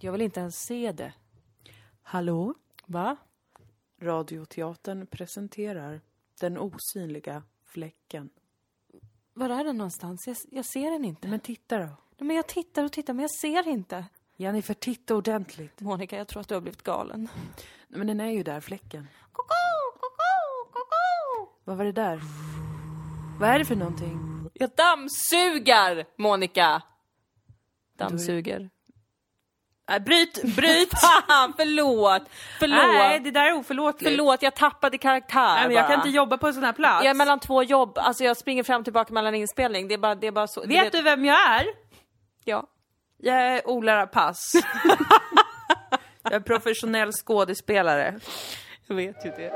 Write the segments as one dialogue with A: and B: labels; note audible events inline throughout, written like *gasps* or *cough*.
A: Jag vill inte ens se det.
B: Hallå?
A: Va?
B: Radioteatern presenterar Den osynliga fläcken.
A: Var är den någonstans? Jag, jag ser den inte.
B: Men titta då.
A: Nej, Men jag tittar och tittar, men jag ser inte.
B: Jennifer, titta ordentligt.
A: Monica, jag tror att du har blivit galen.
B: Nej, Men den är ju där, fläcken.
A: Koko, koko, koko.
B: Vad var det där? Vad är det för någonting?
A: Jag dammsugar, Monica! Dammsuger.
B: Äh, bryt! Bryt!
A: Fan, förlåt! Förlåt!
B: *laughs* Nej, det där är oförlåtligt.
A: Förlåt, jag tappade karaktär
B: Nej, men jag
A: bara.
B: kan inte jobba på en sån här plats.
A: Jag är mellan två jobb, alltså jag springer fram och tillbaka mellan inspelning. Det är bara, det är bara så.
B: Vet du vem jag är?
A: Ja.
B: Jag är Ola Rapace. *laughs* jag är professionell skådespelare.
A: Jag vet ju det.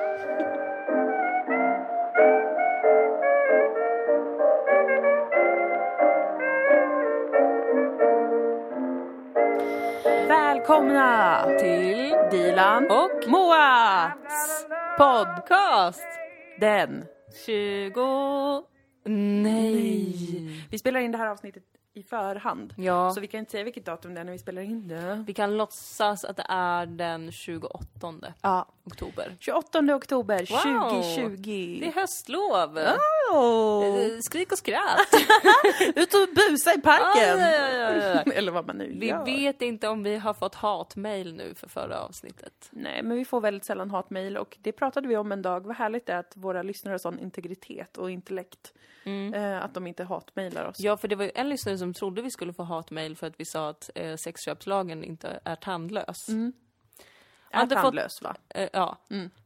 B: Välkomna
A: Till
B: Dilan
A: Och?
B: Moats podd.
A: podcast
B: Den.
A: 20... Nej.
B: Vi spelar in det här avsnittet i förhand.
A: Ja.
B: Så vi kan inte säga vilket datum det är när vi spelar in det.
A: Vi kan låtsas att det är den 28
B: Ja.
A: oktober.
B: 28 oktober
A: Wow.
B: 2020.
A: Det är höstlov!
B: Oh.
A: Eh, Skrik och *laughs* skratt!
B: Ut och busa i
A: Ja, *laughs*
B: parken!
A: ja, ja, ja, ja.
B: Eller vad man nu
A: Vi
B: gör.
A: vet inte om vi har fått hatmejl nu för förra avsnittet.
B: Nej, men vi får väldigt sällan hatmejl och det pratade vi om en dag. Vad härligt det är att våra lyssnare har sån integritet och intellekt. Eh, att de inte hatmejlar oss.
A: Ja, för det var ju en lyssnare som trodde vi skulle få hatmejl för att vi sa att eh, sexköpslagen inte är tandlös.
B: är
A: inte fått-
B: tandlös va?
A: Eh, ja.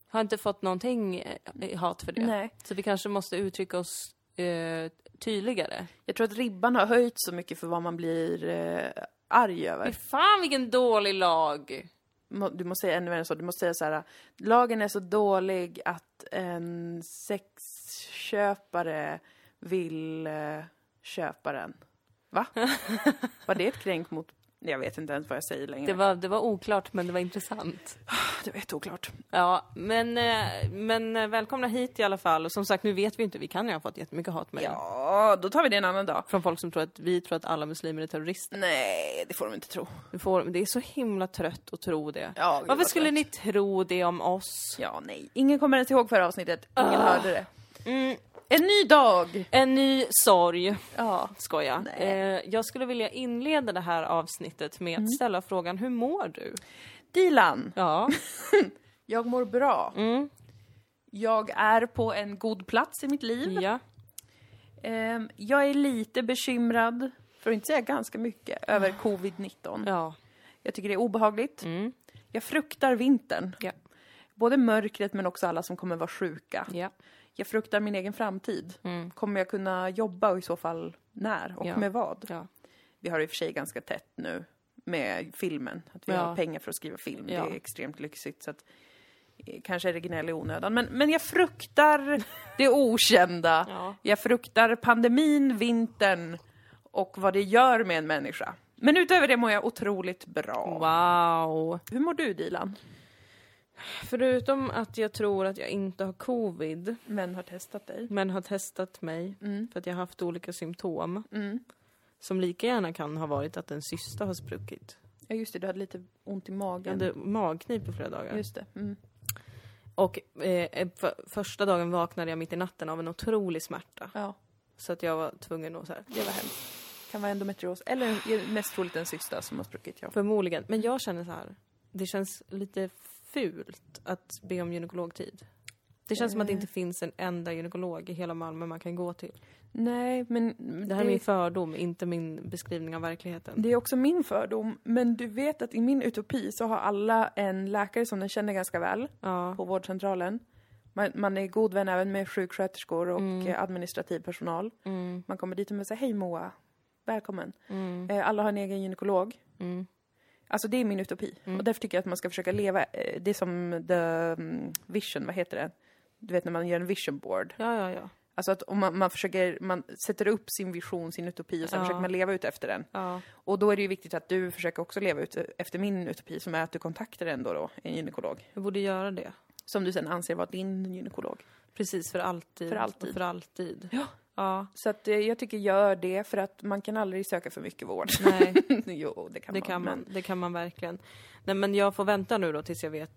A: Har inte fått någonting eh, i hat för det.
B: Nej.
A: Så vi kanske måste uttrycka oss eh, tydligare.
B: Jag tror att ribban har höjts så mycket för vad man blir eh, arg
A: Fy
B: över.
A: fan vilken dålig lag!
B: Må- Du måste säga ännu mer än så. Du måste säga så här. Lagen är så dålig att en sexköpare vill eh, köpa den. Va? Var det ett kränk mot... Jag vet inte ens vad jag säger längre.
A: Det var, det var oklart men det var intressant.
B: det var jätteoklart.
A: Ja, men, eh, men eh, välkomna hit i alla fall. Och som sagt, nu vet vi inte, vi kan ju ha fått jättemycket hatmejl.
B: Ja, då tar vi det en annan dag.
A: Från folk som tror att vi tror att alla muslimer är terrorister.
B: Nej, det får de inte tro.
A: Vi får, det är så himla trött att tro det.
B: Ja, gud,
A: Varför
B: vad
A: skulle
B: trött.
A: ni tro det om oss?
B: Ja, nej. Ingen kommer ens ihåg förra avsnittet. Ingen hörde det.
A: Mm.
B: En ny dag!
A: En ny sorg.
B: Ja.
A: Skoja.
B: Nej.
A: Eh, jag skulle vilja inleda det här avsnittet med att ställa frågan, hur mår du?
B: Dilan,
A: Ja,
B: jag mår bra. Jag är på en god plats i mitt liv.
A: *laughs* ja.
B: Ehm, jag är lite bekymrad, för att inte säga ganska mycket, över covid-19.
A: Ah. ja. Mm.
B: Jag tycker det är obehagligt. Jag fruktar vintern.
A: Ja.
B: Både mörkret men också alla som kommer vara sjuka.
A: ja. Mm.
B: Jag fruktar min egen framtid. Kommer jag kunna jobba och i så fall när och
A: Ja.
B: med vad?
A: ja.
B: Vi har det i och för sig ganska tätt nu med filmen. Att vi
A: Ja.
B: har pengar för att skriva film.
A: Ja.
B: Det är extremt lyxigt. Så att, eh, kanske är det gnäll i onödan. Men, men jag *laughs* fruktar det okända.
A: Ja.
B: Jag fruktar pandemin, vintern och vad det gör med en människa. Men utöver det mår jag otroligt bra.
A: Wow.
B: Hur mår du Dilan?
A: Förutom att jag tror att jag inte har covid,
B: Vem har testat dig?
A: men har testat mig
B: Mm,
A: för att jag har haft olika symptom. Som lika gärna kan ha varit att en cysta har spruckit.
B: Ja just det, du hade lite ont i
A: Jag
B: magen.
A: hade magknip i flera dagar.
B: Just det. Mm.
A: Och eh, för, första dagen vaknade jag mitt i natten av en otrolig smärta.
B: Ja,
A: Så att jag var tvungen att så här,
B: det var hemskt. Kan vara endometrios. Eller mest troligt en cysta som har spruckit. Ja.
A: förmodligen. Men jag känner så här, det känns lite fult att be om gynekologtid. Det känns som att det inte finns en enda gynekolog i hela Malmö man kan gå till.
B: Nej, men
A: Det här är min fördom, inte min beskrivning av verkligheten.
B: Det är också min fördom, men du vet att i min utopi så har alla en läkare som de känner ganska väl
A: Ja.
B: på vårdcentralen. Man, man är god vän även med sjuksköterskor och
A: Mm.
B: eh, administrativ personal. Man kommer dit och man säger hej Moa, välkommen.
A: Mm.
B: Eh, Alla har en egen gynekolog. Alltså det är min utopi
A: Mm.
B: och därför tycker jag att man ska försöka leva, eh, det är som the mm, vision, vad heter det? Du vet när man gör en vision board.
A: Ja, ja, ja.
B: Alltså att om man, man försöker, man sätter upp sin vision, sin utopi och sen
A: Ja.
B: försöker man leva ut efter den.
A: ja.
B: Och då är det ju viktigt att du försöker också leva ut efter min utopi som är att du kontaktar ändå då en gynekolog.
A: Jag borde göra det.
B: Som du sen anser vara din gynekolog.
A: Precis, för alltid.
B: För alltid.
A: och För alltid.
B: Ja.
A: Ja,
B: Så att eh, jag tycker gör det för att man kan aldrig söka för mycket vård. *laughs*
A: nej,
B: jo, det kan
A: det
B: man.
A: kan
B: men
A: man. Det kan man verkligen. Nej, men jag får vänta nu då tills jag vet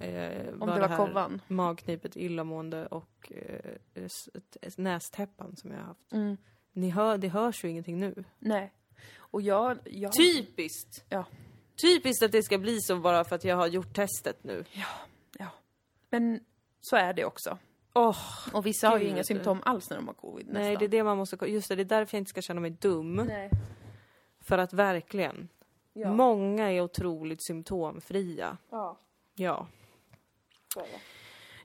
A: eh,
B: Om det var kovan.
A: magknipet, illamående och eh, s- ett- nästäppan som jag har haft.
B: Mm.
A: Ni hör, det hörs ju ingenting nu.
B: Nej. Och jag... jag
A: Typ! Typiskt!
B: Ja.
A: Typiskt att det ska bli så bara för att jag har gjort testet nu.
B: Men så är det också.
A: Åh,
B: Och vissa har ju
A: Gud.
B: inga symptom alls när de har covid nästan.
A: nej det är det man måste... Just det, det är därför jag inte ska känna mig dum.
B: Nej.
A: För att verkligen,
B: Ja.
A: många är otroligt symptomfria.
B: ja,
A: Ja.
B: så är det.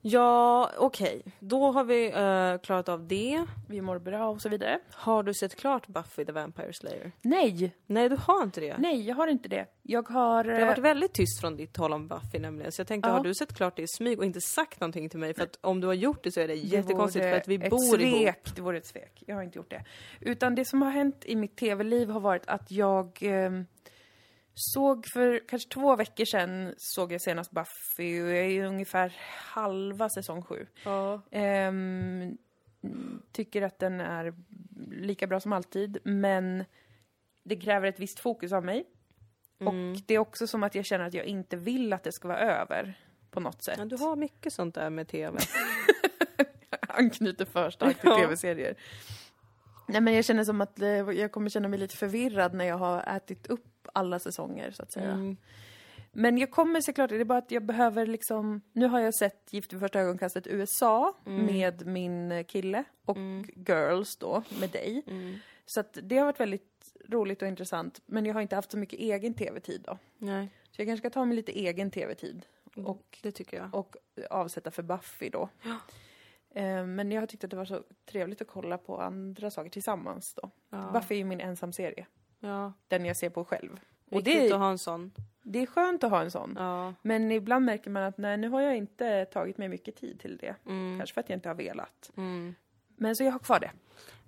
A: Ja, okej. Då har vi eh, klarat av det.
B: Vi mår bra och så vidare.
A: Har du sett klart Buffy the Vampire Slayer?
B: Nej!
A: Nej, du har inte det.
B: Nej, jag har inte det. Jag har...
A: Det har varit väldigt tyst från ditt håll om Buffy nämligen, så jag tänkte,
B: Ja.
A: har du sett klart det i smyg och inte sagt någonting till mig? För att om du har gjort det så är det
B: Det
A: jättekonstigt för
B: vore
A: att vi
B: ett
A: bor ihop.
B: svek. Det vore ett svek. Jag har inte gjort det. Utan det som har hänt i mitt tv-liv har varit att jag ehm, såg för kanske två veckor sedan såg jag senast Buffy och jag är ju ungefär halva säsong sju.
A: Ja.
B: Ehm, tycker att den är lika bra som alltid men det kräver ett visst fokus av mig.
A: Mm.
B: Och det är också som att jag känner att jag inte vill att det ska vara över på något sätt.
A: Men du har mycket sånt där med TV.
B: *laughs* anknyter för starkt till
A: Ja.
B: tv-serier. Nej men jag känner som att eh, jag kommer känna mig lite förvirrad när jag har ätit upp alla säsonger så att säga.
A: Mm.
B: Men jag kommer såklart, det är bara att jag behöver liksom, nu har jag sett Gift vid första ögonkastet USA
A: Mm.
B: med min kille och Girls då med dig. Så att det har varit väldigt roligt och intressant men jag har inte haft så mycket egen tv-tid då.
A: Nej,
B: Så jag kanske ska ta mig lite egen tv-tid och
A: det tycker jag.
B: och avsätta för Buffy då. Eh, Men jag har tyckt att det var så trevligt att kolla på andra saker tillsammans då.
A: Ja.
B: Buffy är ju min ensamserie.
A: Ja.
B: Den jag ser på själv.
A: Och
B: Och det
A: Viktigt att
B: är,
A: ha en sån.
B: det är skönt att ha en sån.
A: Ja.
B: Men ibland märker man att nej, nu har jag inte tagit mig mycket tid till det. Kanske för att jag inte har velat.
A: Mm.
B: Men så jag har kvar det.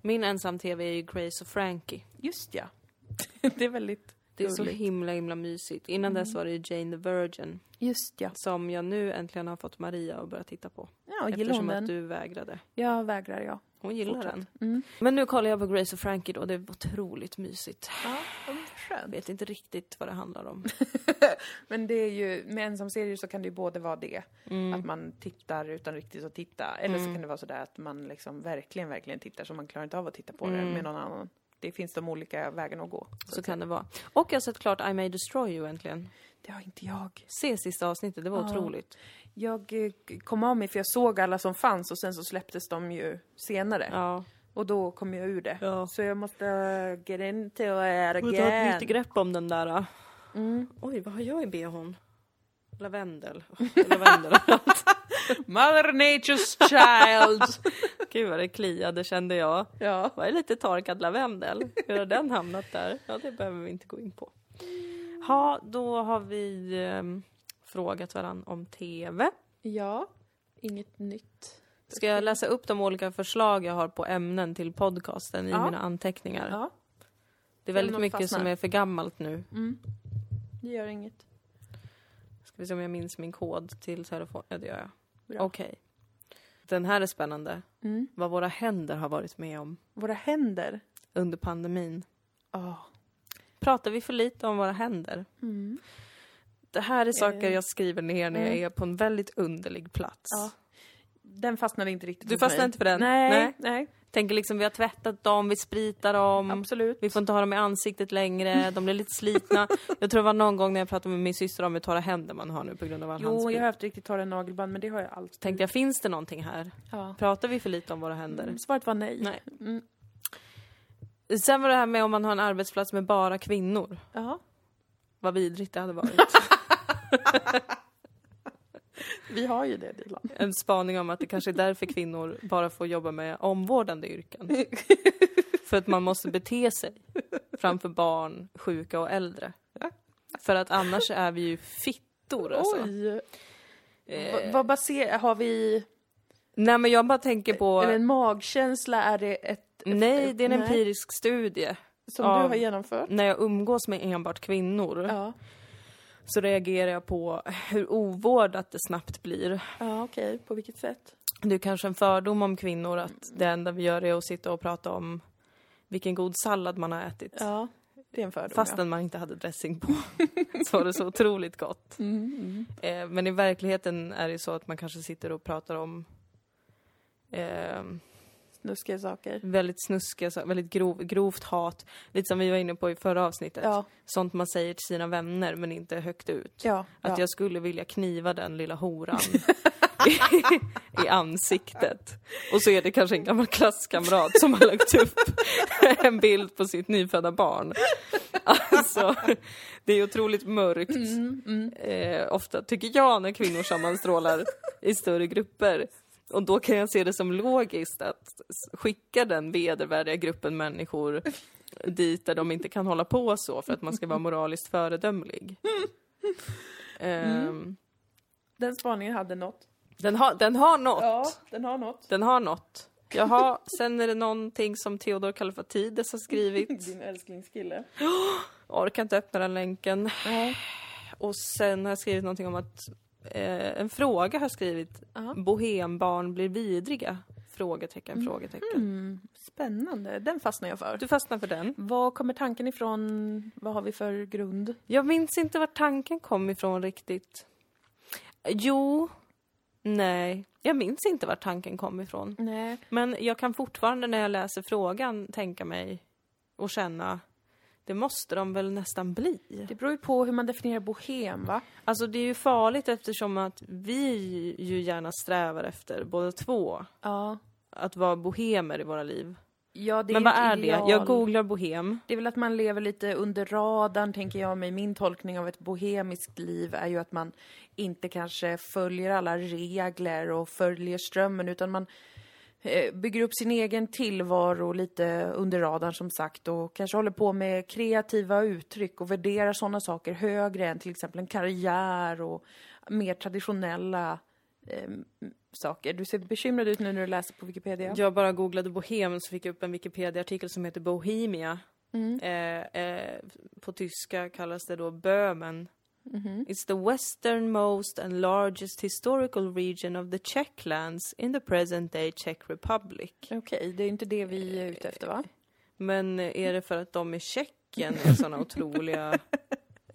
A: Min ensam-TV är ju Grace och Frankie.
B: Just ja. *laughs* det är väldigt
A: Det är så
B: gulligt.
A: himla himla mysigt. Innan dess var det ju Jane the Virgin
B: Just ja.
A: som jag nu äntligen har fått Maria att börja titta på.
B: Ja, och gillar hon
A: Eftersom
B: den?
A: att du vägrade.
B: Jag vägrar jag.
A: Hon gillar
B: Fortsatt.
A: den.
B: Mm.
A: Men nu kollar jag på Grace och Frankie då, det är otroligt mysigt.
B: Ja,
A: Jag
B: skönt.
A: vet inte riktigt vad det handlar om.
B: Men det är ju, med ensamserier så kan det ju både vara det, att man tittar utan riktigt att titta, eller så kan det vara sådär att man liksom verkligen, verkligen tittar så man klarar inte av att titta på det med någon annan. Det finns de olika vägarna att gå.
A: *laughs* Så typ. kan det vara. Och jag har sett klart I May Destroy You äntligen.
B: Det har inte jag.
A: Se sista avsnittet, det var otroligt.
B: Jag eh, kom av mig för jag såg alla som fanns och sen så släpptes de ju senare.
A: Ja.
B: Och då kom jag ur det.
A: Ja.
B: Så jag måste eh, get into it
A: Vi tar ett nytt
B: again.
A: grepp om den där. då. Oj, vad har jag i behån? Lavendel. *laughs* Lavendel och allt.
B: Mother nature's *laughs* child!
A: Gud vad det kliade kände jag.
B: ja.
A: Var det lite torkad lavendel? Hur har den hamnat där? Ja, det behöver vi inte gå in på. Ja, då har vi ehm, frågat varandra om TV.
B: ja, inget nytt.
A: Ska jag läsa upp de olika förslag jag har på ämnen till podcasten i
B: Ja.
A: mina anteckningar?
B: Ja,
A: Det är
B: Eller
A: väldigt
B: något
A: mycket
B: fastnar.
A: som är för gammalt nu.
B: det gör inget.
A: Ska vi se om jag minns min kod till telefon. Ja, det gör jag.
B: Bra.
A: Okej. Den här är spännande.
B: Mm.
A: Vad våra händer har varit med om
B: Våra händer.
A: under pandemin.
B: Ja.
A: Pratar vi för lite om våra händer?
B: Mm.
A: Det här är saker
B: Eh.
A: jag skriver ner när jag
B: Mm.
A: är på en väldigt underlig plats.
B: Ja. Den fastnade inte riktigt
A: Du
B: hos mig.
A: fastnar inte för den?
B: Nej, nej.
A: Nej. Tänker liksom vi har tvättat dem, vi spritar dem.
B: Absolut.
A: Mm. Vi får inte ha dem i ansiktet längre, de blir lite
B: *laughs*
A: slitna. jag tror det var någon gång när jag pratade med min syster om hur torra händer man har nu på grund av all
B: Jo,
A: handsprit.
B: jag har haft riktigt torra nagelband men det har jag alltid.
A: Tänkte jag, finns det någonting här?
B: Ja.
A: Pratar vi för lite om våra händer?
B: Svaret var nej.
A: Nej.
B: Mm.
A: Sen var det här med om man har en arbetsplats med bara kvinnor.
B: Ja.
A: Vad vidrigt det hade varit.
B: Vi har ju det Dilan.
A: en spaning om att det kanske är därför kvinnor bara får jobba med omvårdande
B: *laughs*
A: yrken. För att man måste bete sig framför barn, sjuka och äldre. För att annars är vi ju fittor alltså.
B: Oj!
A: Eh,
B: V- vad baserar, har vi,
A: nej men jag bara tänker på...
B: eller en magkänsla, är det ett
A: Nej, det är en
B: Nej.
A: empirisk studie.
B: som
A: Ja.
B: du har genomfört?
A: När jag umgås med enbart kvinnor
B: Ja,
A: så reagerar jag på hur ovårdat det snabbt blir.
B: ja okej, på vilket sätt?
A: det är kanske en fördom om kvinnor att det enda vi gör är att sitta och prata om vilken god sallad man har ätit.
B: Ja, det är en fördom.
A: Fastän man inte hade dressing
B: *laughs*
A: på så var det så otroligt gott.
B: ja. Mm, mm.
A: Eh, men i verkligheten är det så att man kanske sitter och pratar om eh,
B: Snuskiga saker.
A: väldigt snuskiga, sa- väldigt grov, grovt hat. Lite som vi var inne på i förra avsnittet.
B: Ja,
A: Sånt man säger till sina vänner men inte högt ut.
B: ja.
A: Att
B: ja.
A: jag skulle vilja kniva den lilla horan i ansiktet. Och så är det kanske en gammal klasskamrat som har lagt upp en bild på sitt nyfödda barn. Alltså, det är otroligt mörkt. Eh, ofta, tycker jag, när kvinnor sammanstrålar i större grupper. Och då kan jag se det som logiskt att s- skicka den vedervärdiga gruppen människor dit där de inte kan hålla på så för att man ska vara moraliskt föredömlig. Ehm,
B: Den spaningen hade något.
A: den, har, den har något.
B: Ja, den har något.
A: Den har något. Jaha, sen är det någonting som Theodor Kalfatides har skrivit.
B: Din älsklingskille.
A: Orkar inte öppna den länken. Och sen har jag skrivit någonting om att eh, en fråga har jag skrivit.
B: Ja.
A: Bohembarn blir vidriga? Frågetecken, frågetecken.
B: Mm, spännande, den fastnar jag för.
A: Du fastnar för den.
B: Var kommer tanken ifrån? Vad har vi för grund?
A: Jag minns inte var tanken kom ifrån riktigt. Jo, nej, jag minns inte var tanken kom ifrån.
B: Nej.
A: Men jag kan fortfarande när jag läser frågan tänka mig och känna det måste de väl nästan bli.
B: Det beror ju på hur man definierar bohem, va?
A: Alltså det är ju farligt eftersom att vi ju gärna strävar efter båda två
B: Ja.
A: att vara bohemer i våra liv.
B: ja det
A: Men
B: ju
A: vad är
B: ett ideal.
A: det? Jag googlar bohem.
B: Det är väl att man lever lite under radarn, tänker jag mig. Min tolkning av ett bohemiskt liv är ju att man inte kanske följer alla regler och följer strömmen, utan man eh, bygger upp sin egen tillvaro lite under radarn som sagt och kanske håller på med kreativa uttryck och värderar sådana saker högre än till exempel en karriär och mer traditionella eh, m- saker. Du ser bekymrad ut nu när du läser på Wikipedia.
A: Jag bara googlade bohem så fick jag upp en Wikipedia-artikel som heter Bohemia.
B: Mm.
A: Eh, eh, på tyska kallas det då Böhmen.
B: Mm-hmm.
A: It's the westernmost and largest historical region of the Czech lands in the present day Czech Republic.
B: Okej, det är inte det vi är ute efter va?
A: Men är det för att de i Tjeckien är sådana otroliga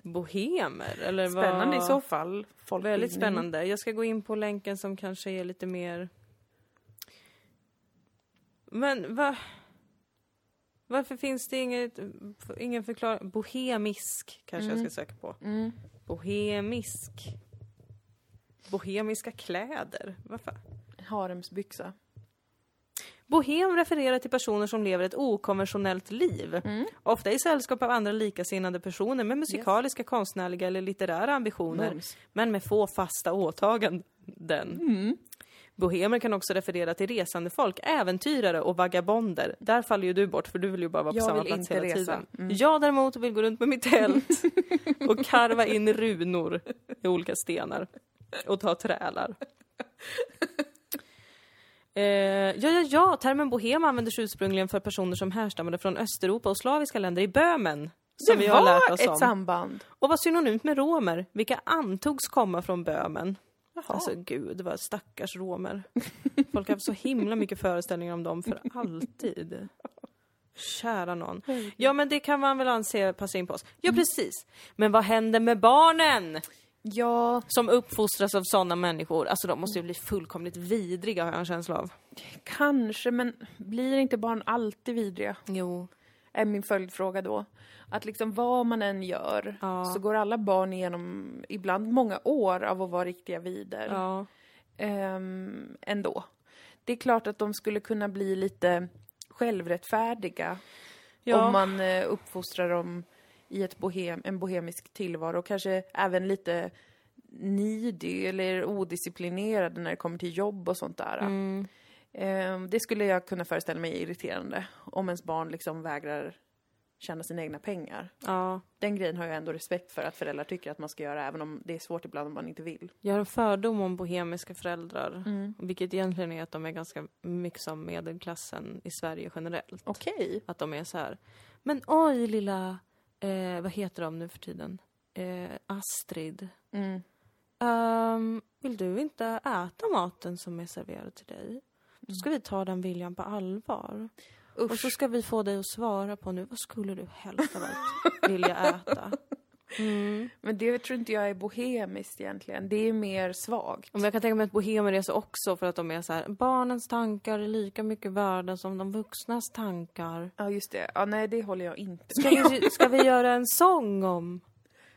A: bohemer? Eller vad-
B: Spännande i så fall. Folkbildning.
A: Väldigt spännande. Jag ska gå in på länken som kanske är lite mer... Men va... Varför finns det inget, ingen förklaring? Bohemisk kanske jag ska söka på.
B: Mm.
A: Bohemisk. Bohemiska kläder. Varför?
B: Haremsbyxa.
A: Bohem refererar till personer som lever ett okonventionellt liv. Ofta i sällskap av andra likasinnade personer med musikaliska, konstnärliga eller litterära ambitioner.
B: Mums.
A: Men med få fasta åtaganden.
B: Mm.
A: Bohemer kan också referera till resande folk, äventyrare och vagabonder. Där faller ju du bort för du vill ju bara vara på
B: Jag
A: samma
B: vill
A: plats
B: inte
A: hela
B: resa. Mm.
A: tiden. Jag däremot vill gå runt med mitt
B: *laughs*
A: tält och karva in runor i olika stenar och ta trälar. Eh, ja, ja, ja, termen bohem användes ursprungligen för personer som härstammade från Östeuropa och slaviska länder i Böhmen. Som
B: det
A: vi har lärt
B: var
A: oss
B: ett
A: om.
B: samband.
A: Och var synonymt med romer, vilka antogs komma från Böhmen. Alltså gud, vad stackars romer. Folk har haft så himla mycket föreställningar om dem för alltid. Kära någon. Ja men det kan man väl anse passar in på oss. Ja precis. Men vad händer med barnen?
B: Ja,
A: Som uppfostras av sådana människor. Alltså de måste ju bli fullkomligt vidriga har jag en känsla av.
B: kanske, men blir inte barn alltid vidriga?
A: Jo.
B: Är min följdfråga då. Att liksom vad man än gör
A: Ja.
B: så går alla barn igenom ibland många år av att vara riktiga vider.
A: Ja.
B: Ehm, ändå. Det är klart att de skulle kunna bli lite självrättfärdiga
A: Ja.
B: om man eh, uppfostrar dem i ett bohem, en bohemisk tillvaro och kanske även lite nidig eller odisciplinerad när det kommer till jobb och sånt där.
A: Mm.
B: Ehm, det skulle jag kunna föreställa mig är irriterande om ens barn liksom vägrar tjäna sina egna pengar.
A: ja.
B: Den grejen har jag ändå respekt för att föräldrar tycker att man ska göra även om det är svårt ibland om man inte vill.
A: Jag har en fördom om bohemiska föräldrar. Vilket egentligen är att de är ganska mycket som medelklassen i Sverige generellt.
B: Okej.
A: Att de är så här. Men oj
B: Mm.
A: lilla, eh, vad heter de nu för tiden? Eh, Astrid. Ehm, vill du inte äta maten som är serverad till dig? Då ska vi ta den viljan på allvar. Och så
B: Usch.
A: ska vi få dig att svara på nu, vad skulle du helst av allt vilja äta? Mm.
B: Men det tror inte jag är bohemiskt egentligen. Det är mer svagt.
A: Ja, Men jag kan tänka mig att bohemer är så också för att de är så här, barnens tankar är lika mycket värda som de vuxnas tankar.
B: Ja, just det. Ja, nej, det håller jag inte *laughs*
A: Ska
B: med om.
A: vi, ska vi göra en sång om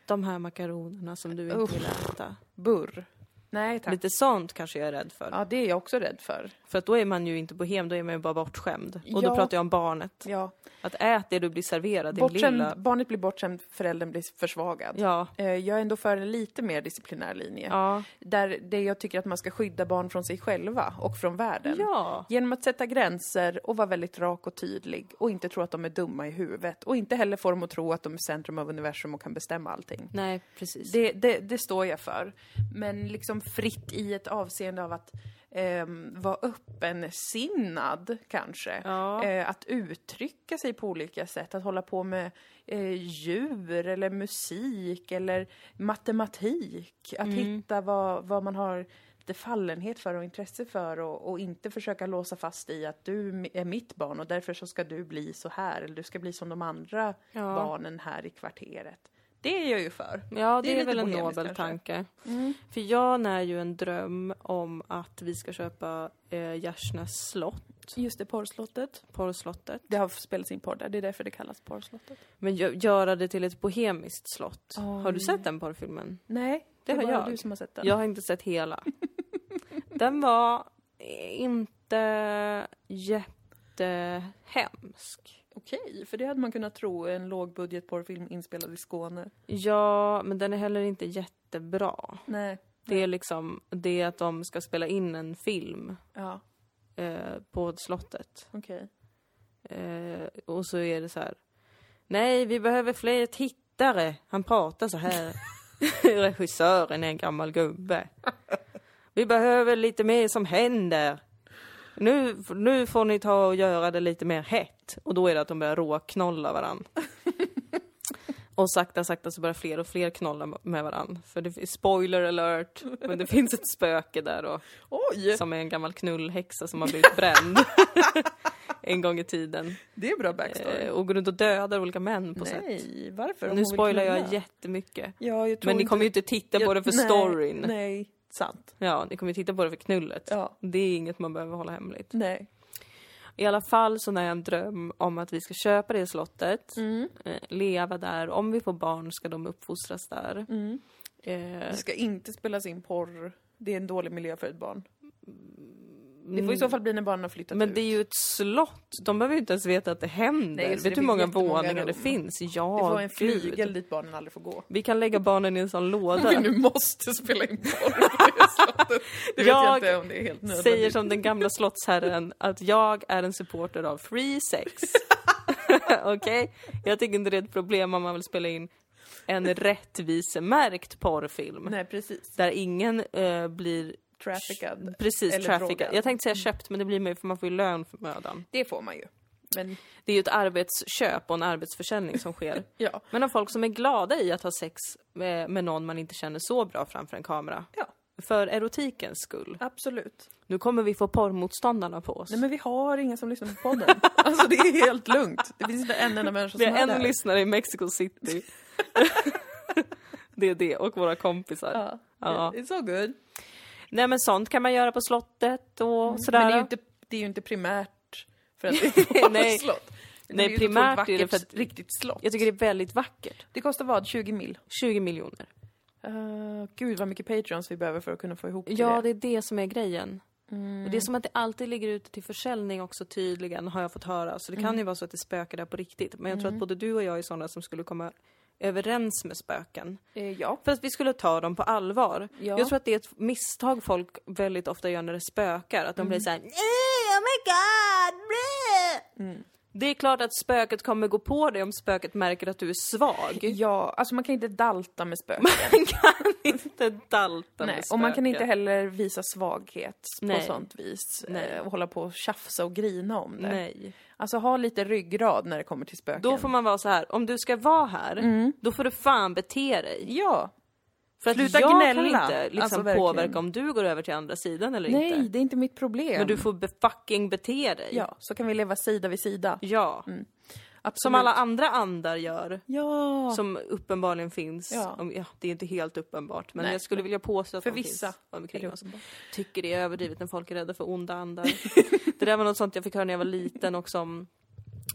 A: de här makaronerna som du inte
B: Usch.
A: vill äta?
B: Burr. Nej, tack.
A: Lite sånt kanske jag är rädd för.
B: Ja, det är jag också rädd för.
A: För att då är man ju inte bohem, då är man ju bara bortskämd. Och då
B: Ja.
A: pratar jag om barnet.
B: Ja.
A: Att ät det du blir serverad, din lilla...
B: Bortskämd, barnet blir bortskämd, föräldern blir försvagad.
A: Ja.
B: Eh, Jag är ändå för en lite mer disciplinär linje.
A: Ja.
B: Där det jag tycker att man ska skydda barn från sig själva och från världen.
A: Ja.
B: Genom att sätta gränser och vara väldigt rak och tydlig och inte tro att de är dumma i huvudet och inte heller få dem att tro att de är centrum av universum och kan bestämma allting.
A: Nej, precis.
B: Det, det, det står jag för. Men liksom fritt i ett avseende av att ehm, vara öppensinnad kanske.
A: Ja.
B: Eh, att uttrycka sig på olika sätt, att hålla på med eh, djur eller musik eller matematik. Att hitta vad, vad man har lite fallenhet för och intresse för och, och inte försöka låsa fast i att du är mitt barn och därför så ska du bli så här eller du ska bli som de andra
A: Ja.
B: barnen här i kvarteret. Det är jag ju för.
A: Ja, det,
B: Det är
A: är väl
B: lite
A: en
B: bohemiskt
A: nobel
B: kanske. Mm.
A: tanke. För jag när ju en dröm om att vi ska köpa eh, Gärsnäs slott,
B: Just det, porrslottet.
A: porrslottet.
B: Det har spelats in porr där, det är därför det kallas porrslottet.
A: Men gö- göra det till ett bohemiskt slott. Har du
B: Oj.
A: sett den porrfilmen?
B: Nej,
A: Det
B: det, är
A: har
B: bara
A: jag.
B: du som har sett den.
A: Jag har inte sett
B: *laughs*
A: hela. Den var inte jättehemsk.
B: Okej, för det hade man kunnat tro, en lågbudgetporrfilm inspelad i Skåne.
A: Ja, men den är heller inte jättebra.
B: Nej.
A: Det är liksom det att de ska spela in en film
B: Ja,
A: eh, på slottet.
B: okej.
A: Eh, och så är det så här. Nej, vi behöver fler tittare. Han pratar så här. *laughs* Regissören är en gammal gubbe. Vi behöver lite mer som händer. Nu, nu får ni ta och göra det lite mer hett. Och då är det att de börjar råknolla varann. Och sakta, sakta så börjar fler och fler knolla med varann. För det är spoiler alert, men det *laughs* finns ett spöke där och
B: Oj!
A: som är en gammal knullhäxa som har blivit bränd en gång i tiden.
B: Det är bra
A: Eh, och går runt och dödödar olika män på sätt.
B: Nej, varför? Om hon
A: Nu
B: vill
A: spoilar
B: knulla.
A: jag jättemycket.
B: Ja, jag tror
A: Men ni
B: inte-
A: kommer ju inte titta på
B: jag-
A: det för
B: nej,
A: storyn.
B: Nej, sant.
A: Ja, ni kommer ju titta på det för knullet.
B: Ja.
A: Det är inget man behöver hålla hemligt.
B: Nej.
A: I alla fall så när jag en dröm om att vi ska köpa det slottet,
B: Mm.
A: eh, leva där. Om vi får barn ska de uppfostras där.
B: Mm.
A: Eh,
B: Det ska inte spelas in porr. Det är en dålig miljö för ett barn. Det får i så fall bli när barnen har flyttat
A: Mm. men
B: ut.
A: det är ju ett slott, de behöver ju inte ens veta att det händer.
B: Nej, just
A: Vet
B: det,
A: du
B: det
A: hur många
B: finns jättemånga
A: våningar det
B: rum.
A: finns?
B: det
A: Ja,
B: får en
A: gud.
B: flygel dit barnen aldrig får
A: *laughs*
B: gå.
A: Vi kan lägga barnen i en sån låda.
B: Vi nu måste spela in porr på det slottet. Det vet jag,
A: Jag
B: inte om det är helt nödvändigt.
A: Säger som den gamla slottsherren att jag är en supporter av free
B: *laughs*
A: sex. Okej? Jag tycker inte det är ett problem om man vill spela in en rättvisemärkt porrfilm.
B: Nej, precis.
A: Där ingen eh, blir...
B: Traffickad.
A: Precis,
B: Eller Mm.
A: traffickad.
B: drogad.
A: Jag tänkte säga köpt, men det blir man ju för man får ju lön för mödan.
B: Det får man ju. Men
A: Det är ju ett arbetsköp och en arbetsförsäljning som
B: *laughs*
A: sker.
B: ja,
A: Men av folk som är glada i att ha sex med, med någon man inte känner så bra framför en kamera.
B: ja
A: För erotikens skull.
B: absolut.
A: Nu kommer vi få porrmotståndarna på oss.
B: Nej men vi har ingen som lyssnar på
A: *laughs*
B: podden. Alltså det är helt lugnt. Det finns inte en enda människa
A: Vi
B: som
A: har
B: är
A: en
B: där.
A: lyssnare i Mexico City. *laughs* det är det, och våra kompisar.
B: Ja.
A: Ja.
B: It's all good.
A: Nej men sånt kan man göra på slottet och sådär.
B: Mm. Men det är, ju inte, det är ju inte primärt
A: *laughs*
B: för att det är
A: Nej.
B: ett slott. Det
A: Nej,
B: är ju ett otroligt
A: primärt är det
B: vackert,
A: för att-
B: riktigt slott.
A: Jag tycker det är väldigt vackert.
B: Det kostar vad? 20 mil?
A: 20 miljoner.
B: Uh, gud vad mycket patreons vi behöver för att kunna få ihop till
A: Ja,
B: det.
A: det Mm. är det som är grejen. Och det är som att det alltid ligger ute till försäljning också tydligen, har jag fått höra. Så det kan ju vara så att det spökar där på riktigt. Men jag tror att både du och jag är sådana som skulle komma överens med spöken.
B: Eh, ja.
A: För att vi skulle ta dem på allvar.
B: Ja.
A: Jag tror att det är ett misstag folk väldigt ofta gör när det spökar. Att de
B: Mm.
A: blir såhär "Eh, oh my god! bleh."
B: Mm.
A: Det är klart att spöket kommer gå på dig om spöket märker att du är svag. *laughs*
B: Ja, alltså man kan inte dalta med spöken.
A: Man kan inte dalta
B: Nej,
A: med
B: och man kan inte
A: spöken.
B: heller visa svaghet
A: Nej.
B: på sånt vis.
A: Nej.
B: Eh, och hålla på och tjafsa och grina om det.
A: Nej.
B: Alltså ha lite ryggrad när det kommer till spöken. Mm.
A: Då får man vara så här. om du ska vara här, då får du fan bete dig.
B: Ja,
A: För att
B: Sluta
A: jag kan
B: gnälla.
A: inte liksom,
B: Alltså, verkligen.
A: påverka om du går över till andra sidan eller
B: Nej,
A: inte.
B: det är inte mitt problem.
A: Men du får be fucking bete dig.
B: Ja, så kan vi leva sida vid sida.
A: Ja.
B: Absolut.
A: Som alla andra andar gör.
B: Ja,
A: Som uppenbarligen finns.
B: Ja.
A: Om, ja, det är inte helt uppenbart men
B: Nej.
A: jag skulle vilja påstå att
B: För
A: de
B: vissa
A: finns
B: är
A: omkring
B: det
A: oss. Tycker det är överdrivet när folk är rädda för onda
B: *laughs*
A: andar. det där var något sånt jag fick höra när jag var liten också om,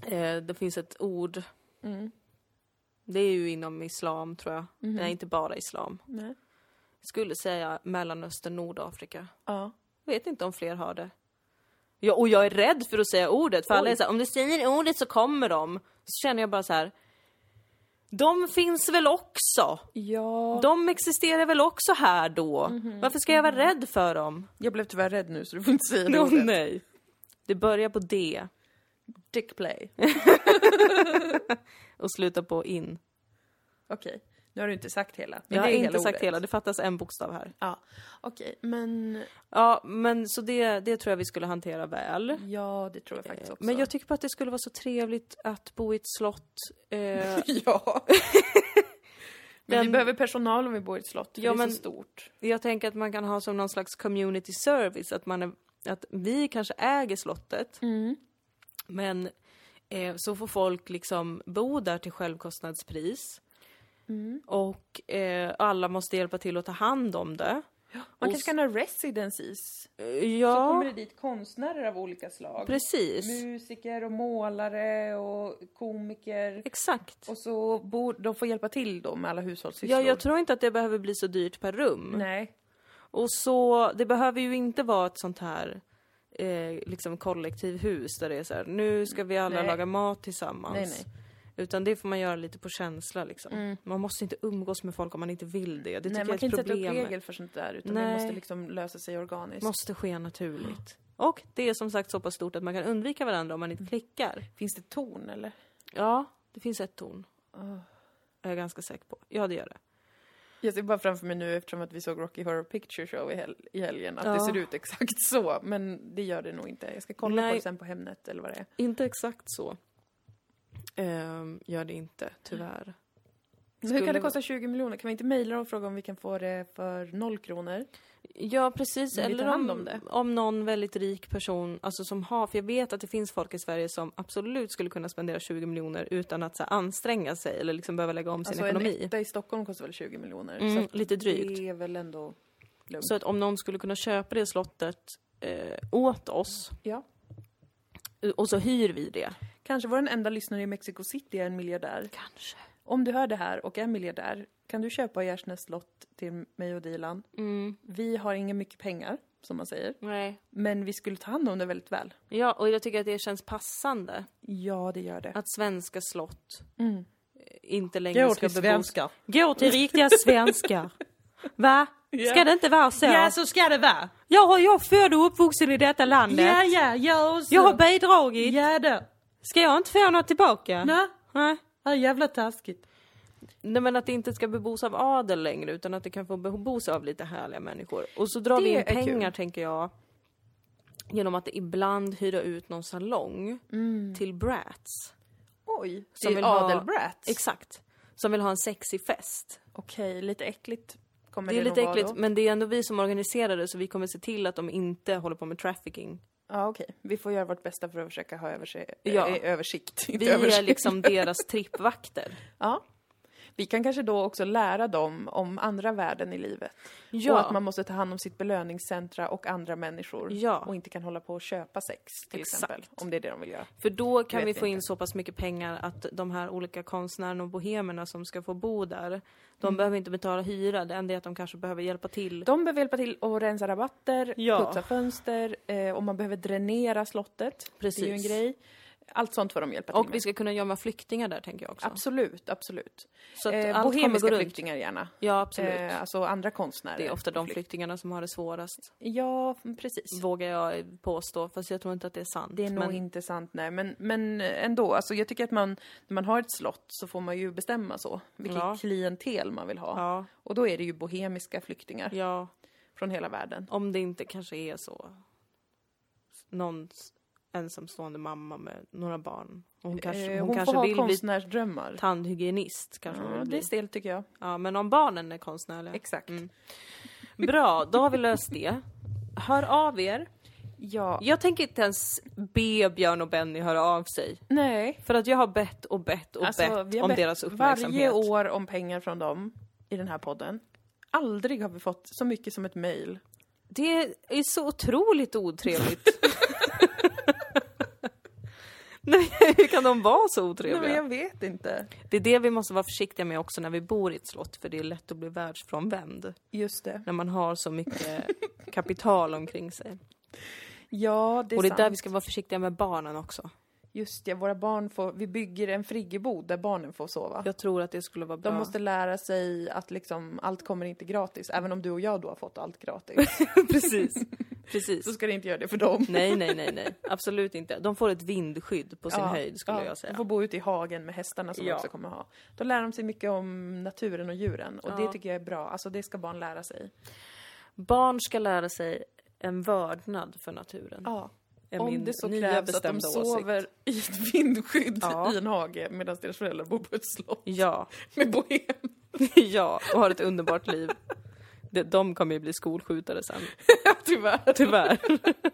A: eh, det finns ett ord,
B: Mm. Mm-hmm.
A: det är ju inom islam tror jag. Nej inte bara islam.
B: Nej.
A: Skulle säga Mellanöstern, Nordafrika.
B: ja.
A: Jag vet inte om fler har det. Ja, och jag är rädd för att säga ordet, för alla är så här, om du säger ordet så kommer de. Så känner jag bara så här. De finns väl också?
B: ja.
A: De existerar väl också här då?
B: Mhm.
A: Varför ska jag vara rädd för dem?
B: Jag blev tyvärr rädd nu så du får inte säga det
A: Åh,
B: ordet.
A: nej. Det börjar på D
B: Dickplay.
A: och slutar på in.
B: Okej, nu har du inte sagt hela. men
A: Jag har
B: det är
A: inte
B: hela
A: sagt
B: ordet.
A: hela, det fattas en bokstav här.
B: Ja, okej, men
A: Ja, men så det, det tror jag vi skulle hantera väl.
B: ja, det tror jag faktiskt också.
A: Men jag tycker bara att det skulle vara så trevligt att bo i ett slott. Eh, *laughs*
B: *laughs* ja. men vi
A: Den-
B: behöver personal om vi bor i ett slott, för
A: Ja,
B: det är
A: men-
B: så stort.
A: Jag tänker att man kan ha som någon slags community service, att, man är, att vi kanske äger slottet, men eh, så får folk liksom bo där till självkostnadspris. Mm. Och eh, alla måste hjälpa till att ta hand om det.
B: Man kanske kan ha residencies.
A: Eh,
B: Så kommer
A: Ja,
B: det dit konstnärer av olika slag.
A: precis.
B: Musiker och målare och komiker.
A: Exakt.
B: Och så bor, de får hjälpa till då med alla hushållssysslor.
A: Ja, jag tror inte att det behöver bli så dyrt per rum.
B: Nej.
A: Och så, det behöver ju inte vara ett sånt här eh, liksom kollektivhus där det är så här, nu ska vi alla
B: Nej.
A: laga mat tillsammans.
B: Nej, nej.
A: Utan det får man göra lite på känsla liksom. Man måste inte umgås med folk om man inte vill det. Det tycker
B: Nej, man
A: jag
B: kan
A: är
B: inte
A: ett
B: sätta
A: problem.
B: upp regler för sånt där utan det
A: Nej.
B: måste liksom lösa sig organiskt.
A: måste ske naturligt. Och det är som sagt så pass stort att man kan undvika varandra om man
B: Mm.
A: inte klickar.
B: Finns det torn eller? Ah.
A: Ja, det finns ett torn. Jag är ganska säker på. Ja, det gör det.
B: Jag ser bara framför mig nu eftersom att vi såg Rocky Horror Picture Show i, hel- i helgen att det
A: Ja.
B: ser ut exakt så. Men det gör det nog inte. Jag ska kolla på
A: Nej.
B: det sen på Hemnet eller vad det är.
A: Inte exakt så. Ehm, gör det inte, tyvärr.
B: Men hur kan det
A: Skulle-
B: kosta 20 miljoner? Kan vi inte mejla dem och fråga om vi kan få det för noll kronor?
A: Ja precis,
B: Men vi tar
A: eller
B: hand
A: om,
B: om det.
A: om någon väldigt rik person, alltså som har, för jag vet att det finns folk i Sverige som absolut skulle kunna spendera 20 miljoner utan att så här, anstränga sig eller liksom behöva lägga om sin
B: Alltså en
A: ekonomi.
B: etta i Stockholm kostar väl 20 miljoner?
A: Mm,
B: att
A: lite drygt.
B: Det är väl ändå lugnt.
A: Så att om någon skulle kunna köpa det slottet eh, åt oss
B: Ja.
A: och så hyr vi det.
B: Kanske vår enda lyssnare i Mexico City är en miljardär.
A: Kanske.
B: Om du hör det här och är miljardär, kan du köpa Gärsnäs slott till mig och Dilan?
A: Mm,
B: Vi har inga mycket pengar, som man säger,
A: nej.
B: men vi skulle ta hand om det väldigt väl.
A: Ja, och jag tycker att det känns passande
B: Ja, det gör det.
A: att svenska slott
B: Mm.
A: eh, inte längre ska bebos. Gå till riktiga svenskar. Va?
B: Ja.
A: Ska det inte vara så?
B: så ska det vara.
A: Jag, har, jag är född och uppvuxen i detta landet.
B: ja, ja
A: Jag har bidragit.
B: Ja då.
A: Ska jag inte få något tillbaka?
B: Nej,
A: Nej.
B: det är jävla taskigt.
A: Nej men att det inte ska bebos av adel längre utan att det kan få bebos av lite härliga människor. Och så drar vi
B: Det
A: in
B: är kul.
A: pengar tänker jag. Genom att ibland hyra ut någon salong till brats.
B: Oj,
A: Som
B: till
A: vill ha-
B: adelbrats.
A: Exakt. Som vill ha en sexig fest.
B: Okej, lite äckligt kommer
A: Det är
B: nog
A: lite
B: vara
A: äckligt
B: då.
A: men det är ändå vi som organiserar det så vi kommer se till att de inte håller på med trafficking.
B: Ja, okej. Vi får göra vårt bästa för att försöka ha överse-
A: Ja.
B: eh, översikt. *laughs* Inte
A: Vi är *laughs*
B: översikt.
A: liksom deras trippvakter.
B: Ja. Vi kan kanske då också lära dem om andra värden i livet. Och att man måste ta hand om sitt belöningscentra och andra människor.
A: Ja.
B: Och inte kan hålla på och köpa sex till
A: Exakt.
B: exempel. Om det är det de vill göra.
A: För då kan
B: Vet
A: vi
B: jag
A: få in så pass mycket pengar att de här olika konstnärerna och bohemerna som ska få bo där, de behöver inte betala hyra. Det enda är att de kanske behöver hjälpa till.
B: Mm. De behöver hjälpa till att rensa rabatter,
A: Ja.
B: putsa fönster, eh, om man behöver dränera slottet. Det är ju en
A: Precis.
B: grej. Allt sånt får de hjälpa till
A: Och
B: med.
A: vi ska kunna gömma flyktingar där tänker jag också.
B: Absolut, absolut.
A: Så att
B: eh,
A: allt kommer gå
B: bohemiska
A: runt.
B: flyktingar gärna.
A: Ja, absolut.
B: Eh, alltså andra konstnärer.
A: det är ofta de flyktingarna som har det svårast,
B: Ja, precis.
A: vågar jag påstå. Fast jag tror inte att det är sant.
B: Det är nog
A: men
B: inte sant, nej. Men, men ändå, alltså jag tycker att man, när man har ett slott så får man ju bestämma så. Vilket
A: Ja.
B: klientel man vill ha.
A: Ja.
B: Och då är det ju bohemiska flyktingar
A: ja,
B: från hela världen.
A: om det inte kanske är så. Någon ensamstående mamma med några barn. Och hon kanske,
B: Eh,
A: hon
B: hon
A: kanske
B: får
A: vill
B: ha
A: bli
B: konstnärsdrömmar.
A: tandhygienist. Kanske hon
B: Ja,
A: vill
B: det är
A: bli.
B: stelt tycker jag.
A: Ja, men om barnen är konstnärliga.
B: Exakt.
A: Mm. Bra, då har vi löst det. Hör av er.
B: Ja,
A: Jag tänker inte ens be Björn och Benny höra av sig.
B: nej.
A: För att jag har bett och bett och
B: Alltså, vi
A: bett
B: har
A: om
B: bett
A: deras uppmärksamhet.
B: Varje år om pengar från dem i den här podden. Aldrig har vi fått så mycket som ett mejl.
A: Det är så otroligt
B: *laughs*
A: otrevligt. Nej, hur kan de vara så
B: Nej,
A: otrevliga?
B: men jag vet inte.
A: Det är det vi måste vara försiktiga med också när vi bor i ett slott, för det är lätt att bli världsfrånvänd.
B: Just det.
A: När man har så mycket
B: *laughs*
A: kapital omkring sig.
B: Ja, det är,
A: och det är
B: sant.
A: där vi ska vara försiktiga med barnen också.
B: Just det, våra barn får... Vi bygger en friggebod där barnen får sova.
A: Jag tror att det skulle vara bra.
B: De måste lära sig att liksom allt kommer inte gratis, även om du och jag då har fått
A: *laughs*
B: allt gratis.
A: Precis. Precis.
B: Så ska det inte göra det för dem.
A: Nej, nej, nej, nej. Absolut inte. De får ett vindskydd på sin höjd skulle
B: ja,
A: jag
B: De
A: säga.
B: får bo ute i hagen med hästarna som
A: Ja.
B: de också kommer ha. Då lär de sig mycket om naturen och djuren och
A: Ja.
B: det tycker jag är bra. Alltså det ska barn lära sig.
A: Barn ska lära sig en vördnad för naturen.
B: Ja.
A: är
B: Om
A: min
B: det så
A: nya
B: krävs att de
A: bestämda
B: sover i ett *laughs* vindskydd
A: Ja.
B: i en hage medan deras föräldrar bor på ett slott
A: Ja, *laughs*
B: med bohem.
A: ja, och har ett underbart liv. De, de kommer ju bli skolskjutare sen,
B: *laughs* Tyvärr.
A: tyvärr. Det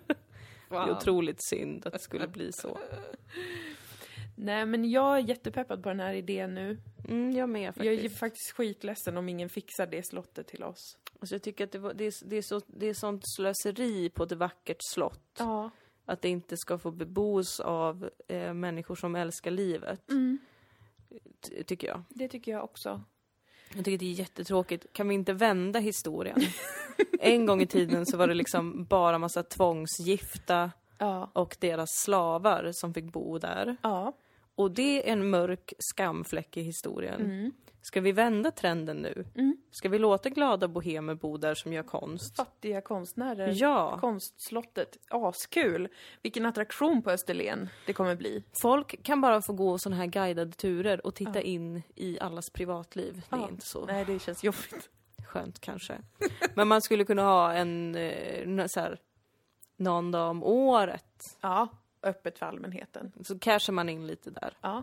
A: är
B: Fan.
A: otroligt synd att det skulle bli så.
B: Nej men jag är jättepeppad på den här idén nu.
A: Mm, jag med faktiskt.
B: Jag är ju faktiskt skitledsen om ingen fixar det slottet till oss.
A: Alltså, jag tycker att det, var, det, är, det, är så, det är sånt slöseri på ett vackert slott.
B: Ja.
A: Att det inte ska få bebos av eh, människor som älskar livet,
B: Mm,
A: ty- tycker jag.
B: det tycker jag också.
A: Jag tycker det är jättetråkigt. Kan vi inte vända
B: *laughs*
A: historien? en gång i tiden så var det liksom bara massa tvångsgifta
B: Ja.
A: och deras slavar som fick bo där.
B: Ja.
A: Och det är en mörk skamfläck i historien. Ska vi vända trenden nu?
B: Mm.
A: Ska vi låta glada bohemer bo där som gör konst?
B: Fattiga konstnärer.
A: Ja.
B: Konstslottet. Askul. Vilken attraktion på Österlen det kommer bli.
A: Folk kan bara få gå sådana här guidade turer och titta in i allas privatliv. Det är
B: Ja.
A: inte så
B: Oh. Nej, det känns jobbigt.
A: skönt kanske. Men man skulle kunna ha en eh, nå- så här, någon dag om året.
B: Ja. Öppet för allmänheten.
A: Så cashar man in lite där.
B: Ja.